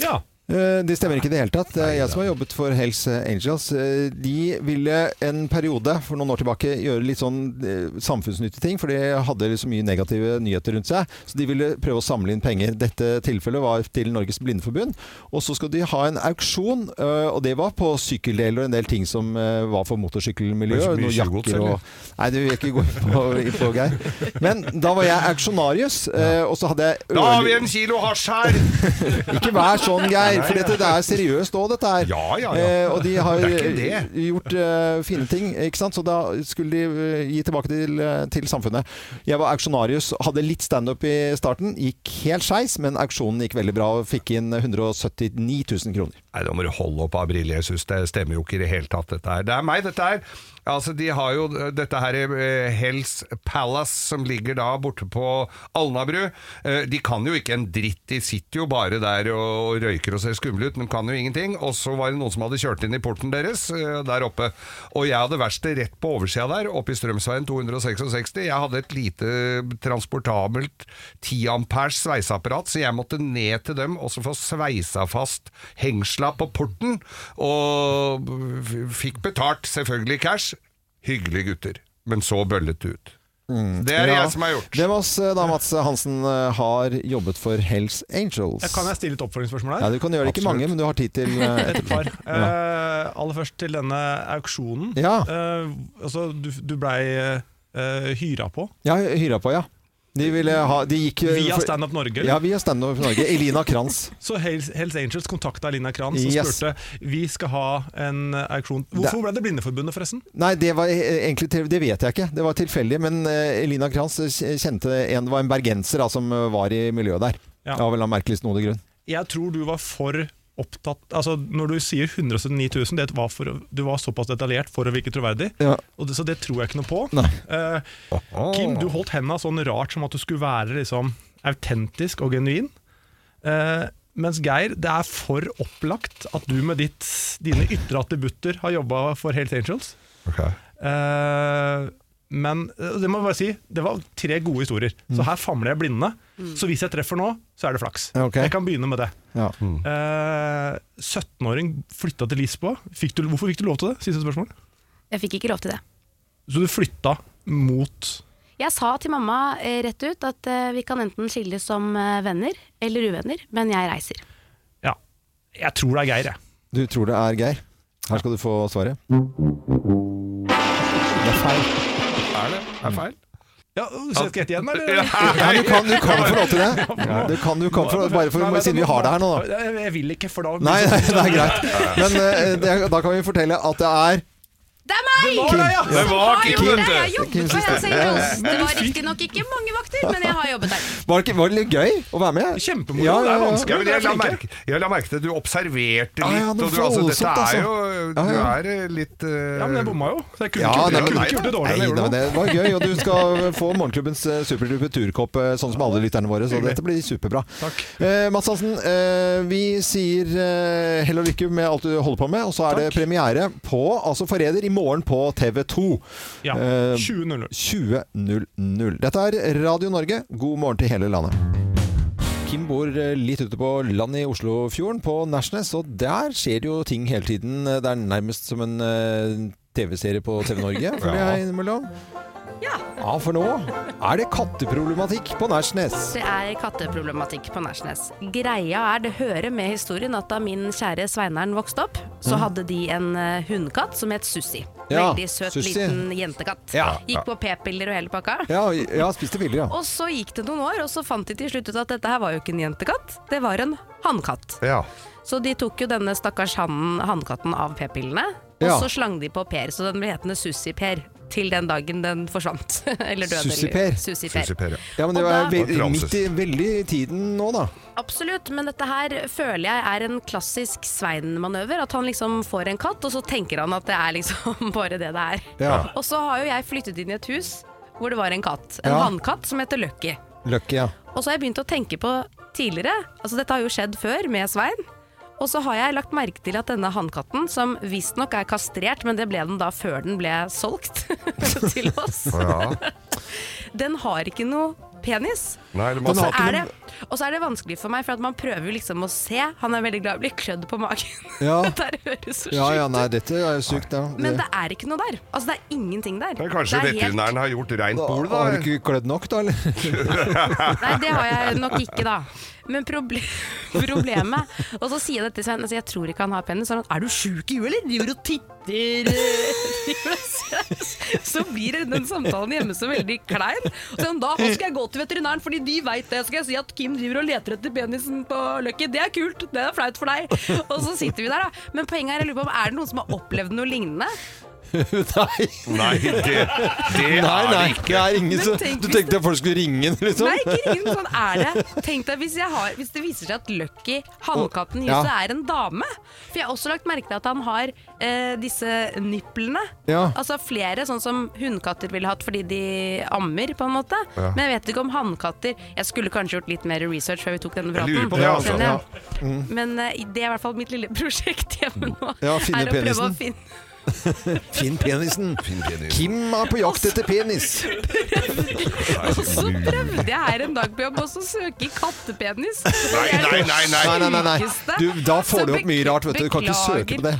S10: Ja.
S1: Eh, Det stemmer ikke i det hele tatt. Det er jeg som har jobbet for Hells Angels. Eh, De ville en periode for noen år tilbake gjøre litt sånn eh, samfunnsnyttige ting, for de hadde liksom mye negative nyheter rundt seg. Så de ville prøve å samle inn penger. Dette tilfellet var til Norges Blindeforbund. Og så skal de ha en auksjon, eh, og det var på sykkeldeler og en del ting som eh, var for motorsykkelmiljøet. Noen
S3: Var det så mye sykkelgods,
S1: jakker og
S3: eller?
S1: Nei, det vil jeg ikke gå inn på, inn på Geir. Men da var jeg auksjonarius, eh, og så hadde jeg
S3: Da har vi
S1: ørli-
S3: en kilo hasj her!
S1: ikke vær sånn, Geir, for dette, det er seriøst òg, dette her.
S3: Ja, ja, ja.
S1: Eh, og de har
S3: Det er ikke
S1: gjort eh, fine ting, ikke sant? så da skulle de eh, gi tilbake til, eh, til samfunnet. Jeg var auksjonarius, hadde litt standup i starten. Gikk helt skeis, men auksjonen gikk veldig bra og fikk inn 179 000 kroner.
S3: Nei, da må du holde opp, Abril. Jeg syns det stemmer jo ikke i det hele tatt, dette her. Det er meg, dette her. Altså, de har jo dette her eh, Hells Palace, som ligger da borte på Alnabru. Eh, De kan jo ikke en dritt. De sitter jo bare der og røyker og ser skumle ut, men kan jo ingenting. Og så var det noen som hadde kjørt inn i porten deres eh, der oppe. Og jeg hadde verkstedet rett på oversida der, oppe i Strømsveien 266. Jeg hadde et lite transportabelt 10 amperes sveiseapparat, så jeg måtte ned til dem og så få sveisa fast hengsla på porten. Og f- fikk betalt, selvfølgelig cash. Hyggelige gutter. Men så bøllet det ut.
S1: Mm.
S3: Det er det jeg som har gjort.
S1: Det var oss eh, da Mats Hansen eh, har jobbet for Hells Angels.
S10: Jeg kan jeg stille et oppfølgingsspørsmål her?
S1: Ja, Du kan gjøre det ikke mange, men du har tid til eh,
S10: Et par.
S1: Ja.
S10: Eh, aller først til denne auksjonen.
S1: Ja.
S10: Eh, altså, du, du blei eh, hyra på.
S1: Ja, hyra på, ja. De, ville ha, de gikk eh,
S10: Via
S1: for-
S10: Stand Up Norge, eller?
S1: Ja, via Stand Up Norge. Elina Kranz.
S10: Så Hells, Hells Angels kontakta Lina Kranz og
S1: Yes.
S10: spurte vi skal ha en auksjon. Hvorfor ble det Blindeforbundet, forresten?
S1: Nei, det var eh, egentlig til- Det vet jeg ikke. Det var tilfeldig. Men eh, Elina Kranz eh, kjente en Det var en bergenser da, som eh, var i miljøet der.
S10: Ja.
S1: Av en eller annen merkelig snodig grunn.
S10: Jeg tror du var for opptatt Altså, når du sier 179 000, det var for, å- du var såpass detaljert for å virke troverdig,
S1: Ja.
S10: og det, så det tror jeg ikke noe på.
S1: Nei.
S10: Eh, Kim, du holdt henda sånn rart som at du skulle være liksom autentisk og genuin. Eh, mens Geir, det er for opplagt at du med ditt, dine ytre attributter har jobba for Hells Angels. Eh, men eh, det må jeg bare si, det var tre gode historier.
S1: Mm.
S10: Så her famler jeg blinde. Så hvis jeg treffer nå, så er det flaks.
S1: Ja, ok.
S10: Jeg kan begynne med det.
S1: Ja.
S3: Mm.
S10: Eh, 17-åring flytta til Lisboa. Fikk du, hvorfor fikk du lov til det? Siste spørsmål.
S2: Jeg fikk ikke lov til det.
S10: Så du flytta mot
S2: Jeg sa til mamma eh, rett ut at eh, vi kan enten skilles som eh, venner eller uvenner, men jeg reiser.
S10: Ja, jeg tror det er Geir, jeg.
S1: Du tror det er Geir? Her skal du få svaret. Det er feil.
S3: Er det? Er feil?
S10: Ja, Skal jeg gjette igjen, eller?
S1: Ja, du kan, du kan få lov til det. Du kan, du kan få, bare for,
S10: Nei, nei,
S1: siden vi har det her nå, da.
S10: Jeg jeg vil ikke, for da sånn.
S1: eh, Nei, nei, det er greit. Men eh, det, da kan vi fortelle at det er
S2: Det er meg!
S10: Det var deg, ja!
S3: Det var
S2: Har
S3: Kim,
S2: jobbet
S3: vet du.
S2: der, Jeg har
S1: Kim
S2: jobbet på
S1: Sister.
S2: Jazz Angels. Det var riktignok ikke mange vakter, men jeg har jobbet der.
S1: Var det, ikke- var det litt gøy å være med?
S10: Kjempemoro.
S1: Ja, ja, ja.
S3: Ja, men jeg, la merke, jeg la merke til at du observerte litt.
S1: Ja, ja, det
S3: og du,
S1: var
S3: altså, dette
S1: voldsomt, altså.
S3: er jo
S1: Ja,
S3: Du
S1: ja.
S3: er eh, litt
S10: Ja, men jeg bomma jo. Så jeg kunne
S1: Ja,
S10: ikke,
S1: nei,
S10: jeg
S1: men-
S10: kunne ikke gjort det dårligere enn jeg gjorde
S1: Nei, det var-
S10: nå.
S1: det var gøy, og du skal få morgenklubbens eh, superduper turkopp, eh, sånn som alle lytterne våre, så dette blir superbra. Eh, Mads Hansen, eh, vi sier eh, hell og lykke med alt du holder på med, og så er det premiere på altså Forræder i morgen på TV 2.
S10: Ja,
S1: Eh,
S10: 20.00.
S1: 20.00. Dette er Radio Norge, god morgen til hele landet. Kim bor eh, litt ute på landet i Oslofjorden, på Nærsnes, og der skjer det jo ting hele tiden. Eh, Det er nærmest som en eh, TV-serie på TV Norge, føler
S2: Ja.
S1: jeg innimellom. Ja, for nå er det katteproblematikk på Nærsnes.
S2: Det er katteproblematikk på Nærsnes. Greia er, det hører med historien at da min kjære Sveineren vokste opp, så
S1: Mhm.
S2: hadde de en eh, hundkatt som het Sussi.
S1: Ja,
S2: Veldig søt
S1: Sussi.
S2: liten jentekatt.
S1: Ja.
S2: Gikk på p-piller og hele pakka.
S1: Ja, ja spiste billig, ja.
S2: Og så gikk det noen år, og så fant de til slutt ut at dette her var jo ikke en jentekatt, det var en hannkatt.
S3: Ja.
S2: Så de tok jo denne stakkars hannen, hannkatten av p-pillene, og
S1: Ja.
S2: så slang de på Per, så den ble hetende Sussi-Per. Til den dagen den forsvant. Eller døde. eller-
S1: Sussi-Per.
S2: Sussi-Per.
S1: Ja, men det
S2: Og
S1: var
S2: da-
S1: veldig, midt i veldig i tiden nå, da.
S2: Absolutt, men dette her føler jeg er en klassisk Svein-manøver. At han liksom får en katt, og så tenker han at det er liksom bare det det er.
S1: Ja.
S2: Og så har jo jeg flyttet inn i et hus hvor det var en katt. En
S1: Ja.
S2: vannkatt som heter Lucky.
S1: Lucky, ja.
S2: Og så har jeg begynt å tenke på tidligere, altså dette har jo skjedd før med Svein. Og så har jeg lagt merke til at denne hannkatten, som visstnok er kastrert, men det ble den da før den ble solgt til oss, den har ikke noe penis.
S3: Nei, det må-
S2: Og så
S3: Den har
S2: er,
S3: ikke
S2: det- og så er det vanskelig for meg, for at man prøver jo liksom å se. Han er veldig glad i å bli klødd på magen.
S1: Ja.
S2: Dette her høres så
S1: Ja,
S2: sjukt
S1: ja,
S2: ut.
S1: nei, dette er jo sykt, ja.
S2: Men det er ikke noe der. Altså, det er ingenting der.
S3: Men kanskje
S2: det er helt-
S3: veterinæren har gjort rent bol, da?
S1: Har du ikke klødd nok, da, eller?
S2: Nei, det har jeg nok ikke, da. Men proble problemet Og så sier jeg det til Svein. Altså, jeg tror ikke han har penis. Så er han, er du sjuk i huet, eller? Driver og titter eh, driver og ser." Så blir den samtalen hjemme så veldig klein. Så sier han, da skal jeg gå til veterinæren, fordi de veit det. Så skal jeg si at Kim driver og leter etter penisen på Lucky. Det er kult, det er flaut for deg. Og så sitter vi der, da. Men poenget er, jeg lurer på om er det noen som har opplevd noe lignende?
S1: nei.
S3: Nei, det, det
S1: nei,
S3: er det
S1: nei,
S3: ikke.
S1: det er ingen
S2: Men
S1: som
S2: tenk
S1: Du
S2: hvis
S1: tenkte at folk skulle ringe, liksom?
S2: Nei, ikke ring sånn er det. Tenk deg hvis, jeg har, hvis det viser seg at Lucky, hannkatten,
S1: Ja.
S2: just er en dame. For jeg har også lagt merke til at han har eh, disse nipplene.
S1: Ja.
S2: Altså flere, sånn som hundkatter ville hatt fordi de ammer, på en måte.
S1: Ja.
S2: Men jeg vet ikke om hannkatter Jeg skulle kanskje gjort litt mer research før vi tok denne
S1: Jeg
S2: praten.
S1: lurer på det, altså.
S2: Skjønner jeg.
S1: Mm.
S2: Men eh, det er i hvert fall mitt lille prosjekt hjemme nå.
S1: Ja, finne
S2: er å prøve
S1: penisen.
S2: å finne
S1: Finn penisen. Kim er på jakt etter penis.
S2: Og så prøvde jeg her en dag på jobb også å søke i kattepenis.
S1: Nei,
S3: nei, nei, nei.
S1: nei, nei, nei.
S2: Sykeste.
S1: Du, da får
S2: Så
S1: du opp mye rart, vet du. Du kan ikke
S2: beklager.
S1: søke på det.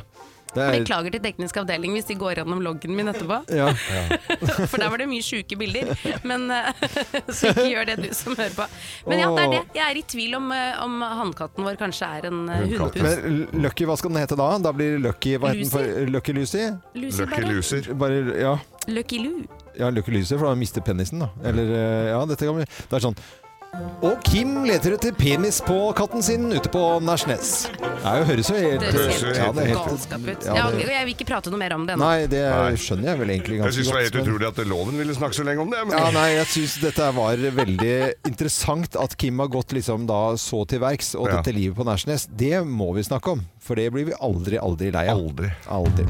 S1: det er,
S2: Beklager til teknisk avdeling hvis de går gjennom loggen min etterpå.
S1: Ja.
S2: For der var det mye sjuke bilder. Men eh, Så ikke gjør det du som hører på. Men ja, det er det. Jeg er i tvil om, eh, om hannkatten vår kanskje er en eh, hundepus.
S1: Men Lucky, hva skal den hete da? Da blir Lucky Hva heter den for? Lucky Lucy?
S2: Lucy Lucky bare.
S1: Bare, ja.
S2: Lucky Lou.
S1: ja, Lucky Lucy, for da mister penisen, da. Eller eh, Ja, dette kan bli Det er sånn Og Kim leter etter penis på katten sin ute på Nærsnes. Det er jo- høres jo helt
S2: Det høres
S1: ja, det er helt-
S2: galskap ut.
S1: ja,
S2: Ja,
S1: det-
S2: Jeg vil ikke prate noe mer om det nå.
S1: Nei, det skjønner jeg vel egentlig
S3: Jeg
S1: ganske
S3: syns det var helt
S1: men-
S3: utrolig at loven ville snakke så lenge om det. Men
S1: Ja, nei, jeg syns dette var veldig interessant. At Kim har gått liksom da så til verks. Og
S3: Ja.
S1: dette livet på Nærsnes, det må vi snakke om. For det blir vi aldri, aldri lei av. Aldri.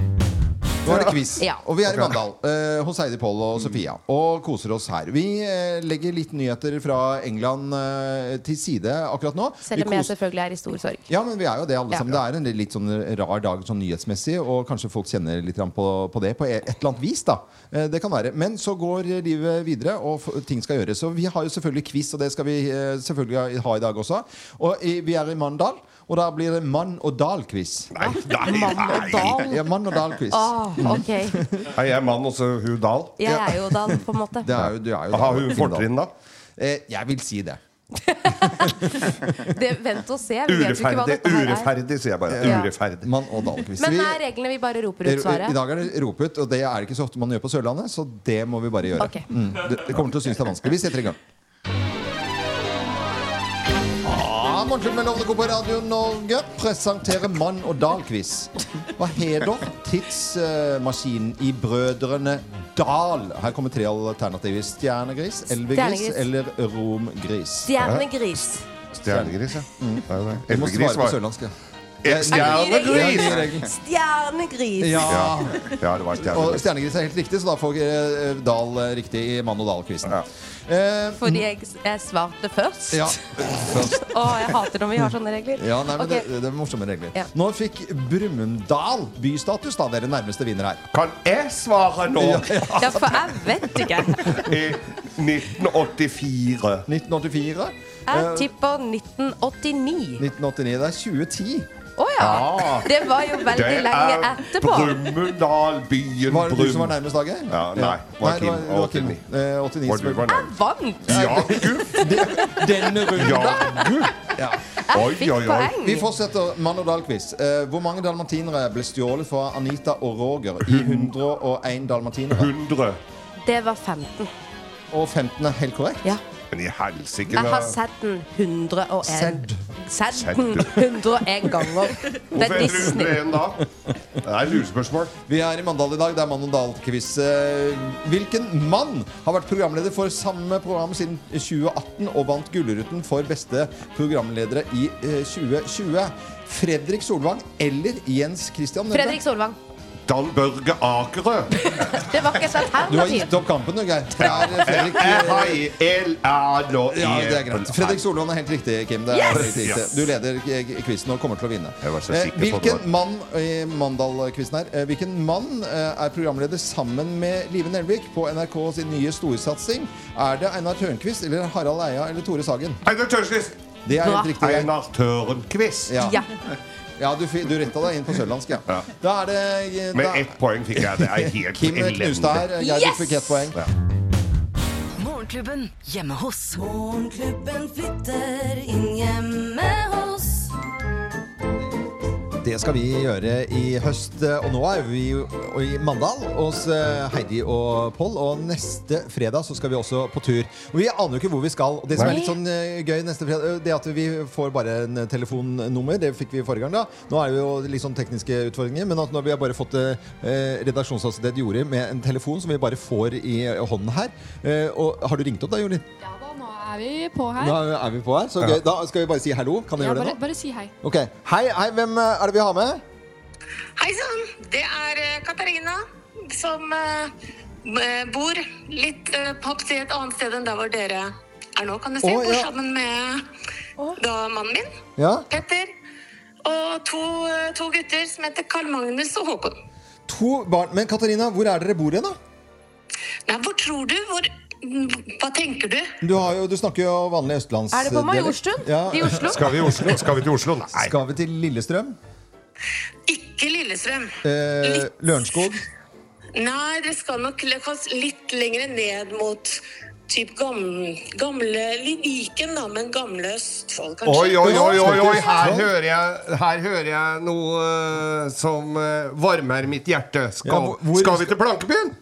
S1: Nå er det quiz, og vi er i Mandal eh, hos Heidi Poll og Sofia og koser oss her. Vi eh, legger litt nyheter fra England eh, til side akkurat nå. Vi
S2: Selv om jeg
S1: koser-
S2: selvfølgelig er i stor sorg.
S1: ja, men vi er jo det alle
S2: Ja.
S1: sammen. Det er en litt sånn rar dag sånn nyhetsmessig, og kanskje folk kjenner litt grann på, på det på e, et eller annet vis, da. Eh, Det kan være. Men så går livet videre, og f- ting skal gjøres. Og vi har jo selvfølgelig quiz, og det skal vi eh, selvfølgelig ha i dag også. Og i, vi er i Mandal, og da blir det mann og dal-quiz. Nei,
S3: Mann og dal?
S1: Ja, mann og dal-quiz.
S2: Åh, Ah, ok.
S3: Er jeg mann, og så hun dal?
S2: Jeg er jo Dan, på en måte.
S1: Det er jo, du er jo
S3: Har hun fortrinn,
S1: da? Eh, Jeg vil si det.
S2: Det, vent og se. Vi vet jo ikke hva dette her er.
S1: Ureferdig, sier jeg bare.
S2: Ja.
S1: Ureferdig. Mann og dal-quiz.
S2: Men
S1: Vi-
S2: er reglene vi bare roper ut
S1: I
S2: svaret?
S1: dag er det rop ut, og det er det ikke så ofte man gjør på Sørlandet, så det må vi bare gjøre.
S2: Ok.
S1: Mm. Det det kommer til å synes det er vanskelig. Vi setter i gang. Ah, program Morgenklubben med Lovende Co på Radio Norge presenterer Mann og Dal-quiz. Hva heter tidsmaskinen i Brødrene Dal? Her kommer tre alternativer. Stjernegris, elvegris
S7: Stjernegris.
S1: eller romgris.
S7: Stjernegris.
S1: Stjernegris, ja. Mm. Det er det.
S12: Du må svare på
S1: Elvegris var
S12: sørlandsk,
S1: Eh, Stjernegris!
S7: Stjernegris.
S1: Ja.
S12: Ja, det var
S1: Og Stjernegris er helt riktig, så da får eh, Dahl eh, riktig i Mann og Dal-quizen. Eh,
S2: Fordi jeg, jeg svarte først.
S1: ja.
S2: Å, jeg hater når vi har sånne regler.
S1: Ja, nei, men
S2: Ok.
S1: det, det er morsomme regler.
S2: Ja.
S1: Nå fikk Brumunddal bystatus, da. Dere nærmeste vinner her.
S3: Kan jeg svare nå?
S2: Ja, for jeg vet ikke.
S3: I 1984.
S1: 1984?
S2: Jeg tipper 1989.
S1: 1989. Eh, Det er 2010.
S2: Å ja.
S1: Ah.
S2: Det var jo veldig lenge etterpå.
S3: Brumunddal, byen
S1: Var det du
S3: Brum.
S1: som var nærmest, Dager?
S3: Ja, nei,
S1: Nei,
S3: var
S1: det var-
S3: Kim.
S1: det var Kim.
S3: 89.
S1: Eh, 89
S3: Var du
S1: som-
S3: var nærmest?
S2: Vant!
S1: Denne runden.
S3: Oi, fikk oi, oi. poeng.
S1: Vi fortsetter Mann og Dahl-quiz. Eh, hvor mange dalmatinere ble stjålet fra Anita og Roger i 101 dalmatinere?
S3: 100.
S2: Det var 15.
S1: Og 15 er helt korrekt?
S3: Men i helsike
S2: Jeg
S3: da.
S2: har sett den 101
S3: Sedd.
S2: Sett
S3: Sedd.
S2: den 101 ganger. Det er
S3: Hvorfor heter det
S2: Disney.
S3: 101 da? Det er lurespørsmål.
S1: Vi er i Mandal i dag. Det er Mann og Dahl-quiz. Eh, Hvilken mann har vært programleder for samme program siden 2018 og vant Gullruten for beste programledere i eh, 2020? Fredrik Solvang eller Jens Christian Nødberg?
S2: Fredrik Solvang.
S3: Dan Børge Akerø.
S2: Det var ikke et
S1: Du har
S2: alternativ.
S1: gitt opp kampen, du, Geir. Det er eh, Fredrik
S3: Jeg har i LA nå
S1: Ja, det er greit. Fredrik Solvang er helt riktig, Kim. Det er
S3: Yes!
S1: helt riktig.
S3: Yes.
S1: Du leder eh, quizen og kommer til å vinne.
S3: så
S1: Eh,
S3: sikker på det
S1: Hvilken
S3: var-
S1: mann i Mandal-quizen her eh, Hvilken mann eh, er programleder sammen med Live Nelvik på NRK sin nye storsatsing? Er det Einar Tørnquist eller Harald Eia eller Tore Sagen?
S3: Einar Tørnquist!
S1: Det er helt riktig.
S3: Einar Tørnquist.
S1: Ja. Ja, du, fi- du retta deg inn på sørlandsk, ja. Da er det eh, da,
S3: Med ett poeng fikk jeg. Det er helt
S1: Kim knuste her. Geir,
S13: Yes!
S1: du fikk ett poeng.
S13: Morgenklubben hjemme hos. Morgenklubben flytter inn hjemme hos.
S1: Det skal vi gjøre i høst. eh, Og nå er vi jo i Mandal hos eh, Heidi og Pål. Og neste fredag så skal vi også på tur. Og vi aner jo ikke hvor vi skal. Og det som
S14: Nei.
S1: er litt sånn eh, gøy neste fredag, eh, det at vi får bare en eh, telefonnummer. Det fikk vi forrige gang, da. Nå er det jo litt sånn tekniske utfordringer. Men at når vi har bare fått eh, redaksjonsassistent Jori med en telefon som vi bare får i hånden her. Eh, Og har du ringt opp da, Jori?
S15: Nå er vi på her.
S1: Da er vi på her. Så
S14: Ja.
S1: gøy. Da skal vi bare si hallo. Kan jeg
S15: ja,
S1: gjøre
S15: bare,
S1: det nå?
S15: bare si hei.
S1: Ok. Hei, hei, hvem eh, er det vi har med?
S16: Hei sann, det er eh, Katarina som eh, b- bor litt eh, på si et annet sted enn der hvor dere er nå, kan du si.
S1: Å,
S16: Bor
S1: ja.
S16: sammen med da mannen min,
S1: Ja?
S16: Petter, og to, eh, to gutter som heter Karl Magnus og Håkon.
S1: To barn. Men Katarina, hvor er dere bor hen, da?
S16: Nei, hvor tror du? Hvor, hva tenker du?
S1: Du, har jo, du snakker jo vanlig østlands...
S16: Er det på Majorstuen? I Oslo? Skal vi i Oslo?
S1: Skal vi til Oslo? Nei. Skal vi til Lillestrøm?
S16: Ikke Lillestrøm.
S1: Eh, Lørenskog?
S16: Nei, dere skal nok le- kanskje litt lenger ned mot typ gamle, gamle litt Viken, da, men gamle Østfold, kanskje.
S3: Oi, oi, oi, oi, oi. Her, hører jeg, her hører jeg noe eh, som eh, varmer mitt hjerte. Skal, skal vi til Plankebyen?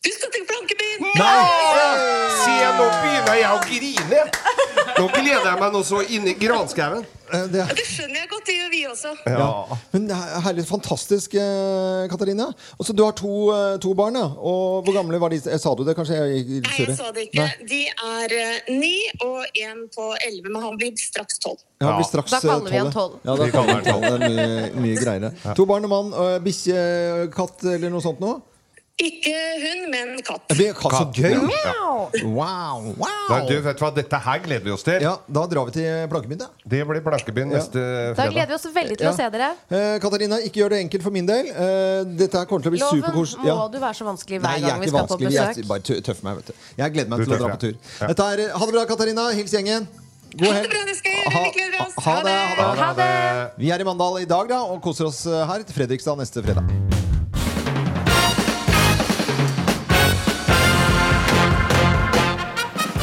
S16: Du skal til Plankebyen!
S3: Nei! Se, nå begynner jeg å grine. Nå gleder jeg meg nå så inni granskauen.
S1: Eh, Det
S16: Det skjønner jeg godt, det gjør vi også.
S1: Ja. Men det er herlig, fantastisk, eh, Katarina. Og så Du har to, eh, to barn, ja. Og hvor gamle var de? Eh, Sa du det? Kanskje jeg gikk litt
S16: Nei,
S1: surre?
S16: jeg sa det ikke. De er eh, ni og en på elleve, men han blir straks tolv.
S1: Ja, det blir straks, eh, tolv, ja. Ja, da
S14: Vi kaller den
S1: kaller vi tolv. Det er mye, mye greiere. To barn og mann. eh, Bikkje, katt eller noe sånt noe?
S16: Ikke hund, men katt.
S1: Det blir katt, så gøy!
S3: Ja,
S1: Wow, wow!
S3: Nei, du, vet du hva, Dette her gleder vi oss til.
S1: Ja, Da drar vi til Plankebyen, da.
S3: Det blir Plankebyen neste
S15: Da
S3: fredag.
S15: gleder vi oss veldig til
S1: Ja.
S15: å se dere.
S1: Eh, Katarina, ikke gjør det enkelt for min del. Eh, dette her kommer til å bli
S15: Loven
S1: superkoselig.
S15: må du være så vanskelig hver
S1: Nei, jeg
S15: gang
S1: er
S15: vi
S1: ikke
S15: skal på
S1: vanskelig. Jeg
S15: besøk.
S1: er bare tø- tøffer meg, vet du. Jeg gleder meg
S14: Du
S1: til å dra
S14: tøffer
S1: på tur.
S14: deg. Ja.
S1: Dette er, eh, ha det bra, Katarina. Hils gjengen. God helg. Ha, ha, det, ha, det. Vi er i Mandal i dag da, og koser oss eh, her til Fredrikstad neste fredag.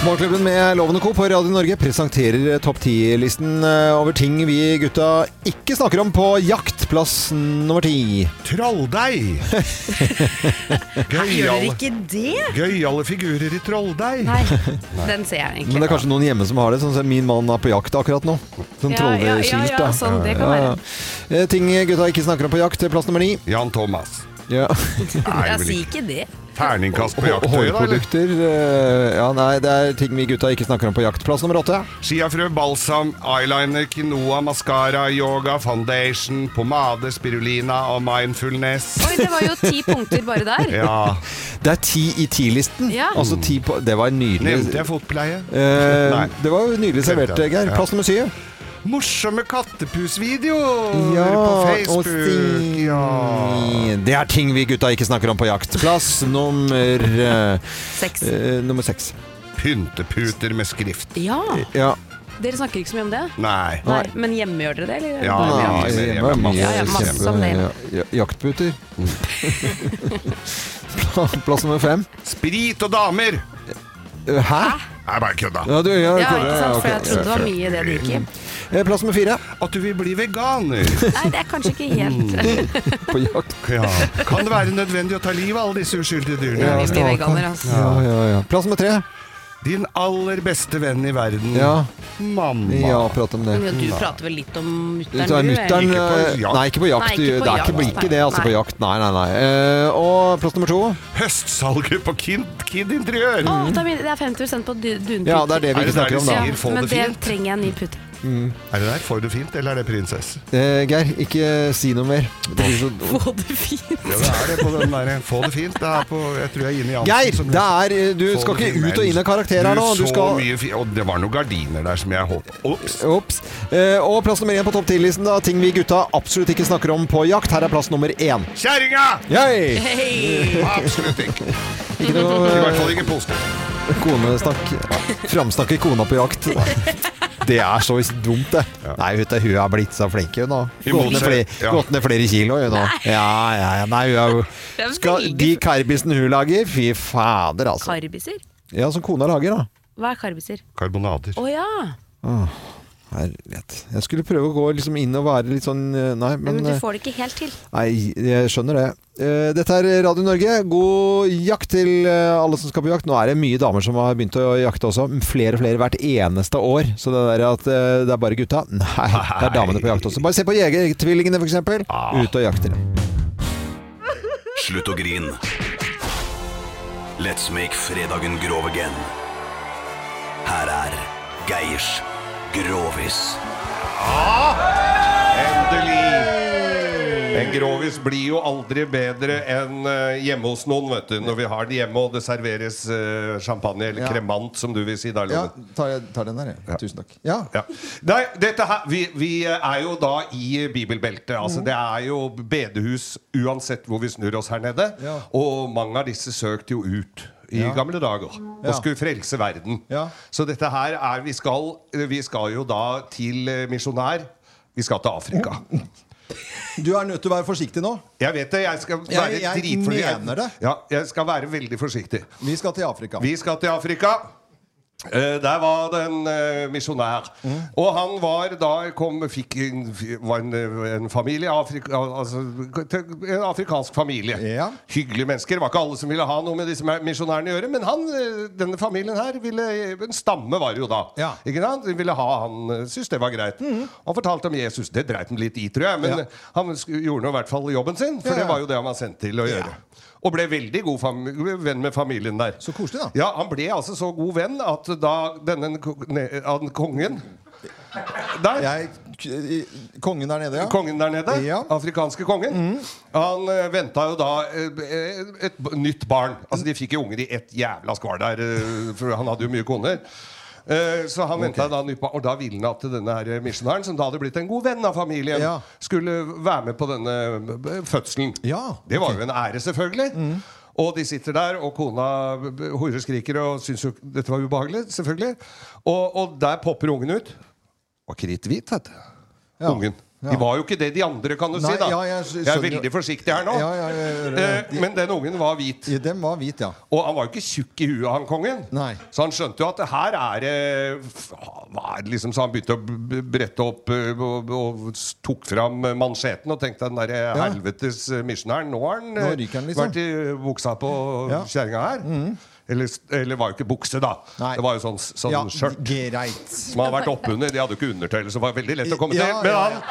S1: Morgenklubben med Loven og Co. på Radio Norge presenterer eh, topp 10-listen eh, over ting vi gutta ikke snakker om på jaktplass nummer ti.
S12: Trolldeig!
S2: Gjør
S12: Gøyale
S2: ikke det?
S12: gøyale figurer i trolldeig.
S2: Den ser jeg
S1: Men det
S2: egentlig.
S1: er kanskje noen hjemme som har det, sånn som min mann er på jakt akkurat nå.
S2: Ja, ja,
S1: Sånn
S2: ja,
S1: trolleskilt,
S2: ja,
S1: da.
S2: sånn, det kan være.
S1: Eh, Ting gutta ikke snakker om på jakt, plass nummer ni.
S7: Jan Thomas.
S1: Ja.
S2: Jeg sier ikke det.
S7: Terningkast på
S1: Hå-
S7: jakttøy, da? eller?
S1: Hårprodukter eh, Ja, nei, det er ting vi gutta ikke snakker om på jakt. Plass nummer åtte.
S7: Skiafrø, balsam, eyeliner, quinoa, maskara, yoga, foundation, pomade, spirulina og mindfulness.
S2: Oi, det var jo ti punkter bare der.
S1: Det er ti i ti-listen.
S2: Ja.
S1: Altså ti på Det var nydelig.
S7: Nevnte jeg fotpleie?
S1: Eh,
S7: Nei.
S1: det var jo nydelig servert,
S7: Glemte jeg.
S1: Geir.
S7: Ja.
S1: Plass nummer syv.
S7: Morsomme kattepusvideoer
S1: Ja,
S7: på
S1: og
S7: Facebook.
S1: ting- Det er ting vi gutta ikke snakker om på jakt. Plass nummer eh,
S2: Seks.
S1: eh, nummer seks.
S7: Pynteputer med skrift.
S2: Ja.
S1: Ja.
S2: Dere snakker ikke så mye om det?
S7: Nei.
S2: Nei, Men hjemme gjør dere det? Eller?
S7: Ja,
S2: Bare
S7: ja,
S2: jakt?
S7: hjemme,
S1: hjemme er mye
S2: ja, ja, masse om det.
S1: kjempe- ja, Jaktputer. Pla- Plass nummer fem. Eh,
S7: Sprit og damer!
S1: Hæ?
S7: Nei, bare kødda.
S1: Ja, du, ja,
S2: Ja,
S1: kødder,
S2: ikke sant, for
S1: ok.
S2: jeg trodde det var mye det du gikk i.
S1: Eh, Plass nummer fire.
S7: At du vil bli veganer.
S2: Nei, det er kanskje ikke
S1: Mm,
S2: helt
S1: På jakt.
S7: Ja. Kan det være nødvendig å ta livet av alle disse uskyldige dyrene?
S2: Ja, vi blir veganere, altså.
S1: Ja, ja, ja. Plass nummer tre.
S7: Din aller beste venn i verden.
S1: Ja.
S7: Mamma.
S1: Ja, prat om det. Mm.
S2: Men Du prater vel litt om mutter'n,
S1: Du tar mutteren, eh, Nei, ikke på
S2: Nei, ikke på
S1: jakt. det er ikke,
S2: jakt,
S1: blir ikke det altså,
S2: nei.
S1: på jakt. Nei, nei, nei. Eh, og plass nummer to.
S7: Høstsalget på Kid, kid Interiør.
S2: Å, det er min- det er 50 på du- dunputer.
S1: Ja, det er det vi ikke
S7: Er det
S1: snakker om,
S7: der de
S1: da.
S7: sier få
S2: men
S7: det
S2: det
S7: fint?
S2: trenger jeg en ny pute.
S1: Mm.
S7: Er det der får du fint, eller er det prinsesse?
S1: Eh, Geir, ikke si noe mer. Det blir så...
S2: Få det fint.
S7: Ja, det er det på den der. Få det fint. Det er på, jeg tror jeg er inne i Jansen.
S1: Geir,
S7: som-
S1: det er, eh, du
S7: altså, Få
S1: skal
S7: det
S1: ikke
S7: fint.
S1: ut og inn av karakter her nå. Du
S7: så
S1: skal
S7: mye fi- Og det var noen gardiner der som jeg håp... Ops.
S1: Ops. Eh, og plass nummer én på topp 10-listen, da. Ting vi gutta absolutt ikke snakker om på jakt. Her er plass nummer én.
S7: Kjerringa!
S1: Yay!
S7: Absolutt ikke.
S1: Ikke noe
S7: I
S1: eh,
S7: hvert fall ikke påske.
S1: konesnakk. Framsnakke kona på jakt. Det er så dumt, det. Nei, vet du, hun er blitt så flink, hun nå.
S17: I
S1: Gått
S17: motsetning-
S1: ned, flere,
S17: ja.
S1: gått ned flere kilo, hun nå. Ja, ja, ja. Nei, hun er
S2: Det er
S1: jo skal, De karbisene hun lager, fy fader, altså.
S2: Karbiser?
S1: Ja, som kona lager, da.
S2: Hva er karbiser?
S7: Karbonader.
S2: Å ja.
S1: Åh, herlighet. Jeg skulle prøve å gå liksom inn og være litt sånn eh, Nei,
S2: Men,
S1: men
S2: du
S1: eh,
S2: får det ikke helt til.
S1: Nei, jeg skjønner det. Eh, Dette er Radio Norge. God jakt til eh, alle som skal på jakt. Nå er det mye damer som har begynt å jakte også. Flere og flere hvert eneste år. Så det der at eh, det er bare gutta Nei, det er damene på jakt også. Bare se på Jegertvillingene, f.eks.
S3: Ah.
S1: Ute og jakter.
S11: Slutt å grin. Let's make fredagen grov again. Her er Geirs Grovis.
S3: Endelig! En grovis blir jo aldri bedre enn eh, hjemme hos noen, vet du. Når vi har det hjemme og det serveres eh, champagne eller
S1: Ja.
S3: kremant, som du vil si der,
S1: Ja,
S3: Loven.
S1: tar, jeg- tar den der, jeg. Tusen takk. Ja.
S3: Ja. Nei, dette her, vi, vi eh, er jo da i bibelbeltet. Altså,
S1: Mhm.
S3: Det er jo bedehus uansett hvor vi snur oss her nede.
S1: Ja.
S3: Og mange av disse søkte jo ut i
S1: Ja.
S3: gamle dager
S1: Ja.
S3: og skulle frelse verden.
S1: Ja.
S3: Så dette her er Vi skal, vi skal jo da til eh, misjonær. Vi skal til Afrika.
S1: Du er nødt til å være forsiktig nå.
S3: Jeg vet det. Jeg skal
S1: Jeg-
S3: være
S1: jeg
S3: dritforsiktig.
S1: mener det.
S3: Ja, jeg skal være veldig forsiktig.
S1: Vi skal til Afrika.
S3: Vi skal til Afrika. Eh, der var det en eh, misjonær.
S1: Mm.
S3: Og han var da kom, fikk, en- var en, en familie Afrika, altså, En afrikansk familie. Hyggelige mennesker. Det var ikke alle som ville ha noe med disse misjonærene å gjøre. Men han, eh, denne familien her ville, En stamme var det jo da. Ikke sant? De ville ha han eh, syntes det var greit. Han fortalte om Jesus. Det dreit han litt i, tror jeg. Men
S1: Mm. Ja.
S3: han sk- gjorde nå i hvert fall jobben sin, for
S1: Ja, ja.
S3: det var jo det han var sendt til å gjøre. Og ble veldig god fam- venn med familien der.
S1: Så koselig, da.
S3: Ja, Han ble altså så god venn at da denne ko- ne- han kongen der,
S1: kongen der nede, ja. Mm.
S3: Kongen der nede, Afrikanske kongen. Han eh, venta jo da eh, et b- nytt barn. Altså De fikk jo unger i ett jævla skvar der, eh, for han hadde jo mye koner. Eh, Så han ventet da nytt barn, Og da ville han at denne her misjonæren, som da hadde blitt en god venn av familien,
S1: Ja.
S3: skulle være med på denne b- b- fødselen. Det var jo en ære, selvfølgelig.
S1: Mm.
S3: Og de sitter der, og kona b- b- horeskriker og syns jo dette var ubehagelig. selvfølgelig Og, og der popper ungen ut. Var kritthvit, vet du.
S1: Ja.
S3: Ungen.
S1: Ja.
S3: De var jo ikke det de andre, kan du
S1: Nei,
S3: si. da
S1: ja, jeg skj-
S3: Jeg er
S1: skjønner jo.
S3: veldig forsiktig her nå.
S1: Ja, ja, ja, ja, ja.
S3: Eh, Men den ungen var hvit.
S1: Den var hvit, ja.
S3: Og han var jo ikke tjukk i huet, han kongen.
S1: Nei.
S3: Så han skjønte jo at det her er eh, f- hva er det liksom, Så han begynte å b- b- brette opp eh, og, og s- tok fram eh, mansjeten og tenkte den derre
S1: Ja.
S3: helvetes eh, misjonæren, nå har han
S1: Nå
S3: eh,
S1: ryker han, liksom.
S3: vært i buksa på
S1: Ja. Mm.
S3: kjerringa her. Eller, eller var jo ikke bukse, da. Det var jo sånn, sånn
S1: Ja,
S3: skjørt som hadde vært oppunder. De hadde jo ikke undertøy, så det var veldig lett å komme
S1: Ja,
S3: til. Men han,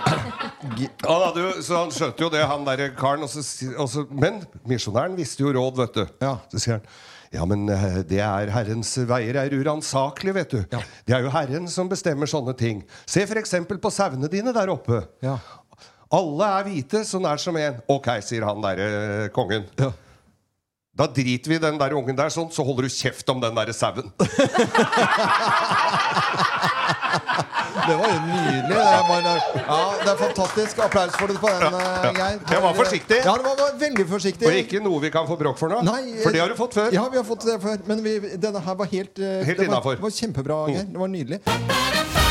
S3: han hadde jo, så han skjønte jo det, han derre karen. Og så, si- og så, men misjonæren visste jo råd, vet du. Så sier han ja, men eh, det er Herrens veier er uransakelige, vet du. Det er jo Herren som bestemmer sånne ting. Se f.eks. på sauene dine der oppe. Alle er hvite, så nær som én. Ok, sier han derre eh, kongen. Da driter vi i den der ungen der, sånn, så holder du kjeft om den derre sauen.
S1: Det var jo nydelig. Det, var, ja, det er fantastisk. Applaus for det på den, eh, Geir.
S3: Jeg var forsiktig.
S1: Ja, du var, var veldig forsiktig.
S3: Og ikke noe vi kan få bråk for nå.
S1: Nei,
S3: for det har du fått før.
S1: Ja, vi har fått det før. Men vi, denne her var helt eh,
S3: Helt
S1: det var-
S3: innenfor. Mm.
S1: Det var kjempebra, Geir. Det var nydelig.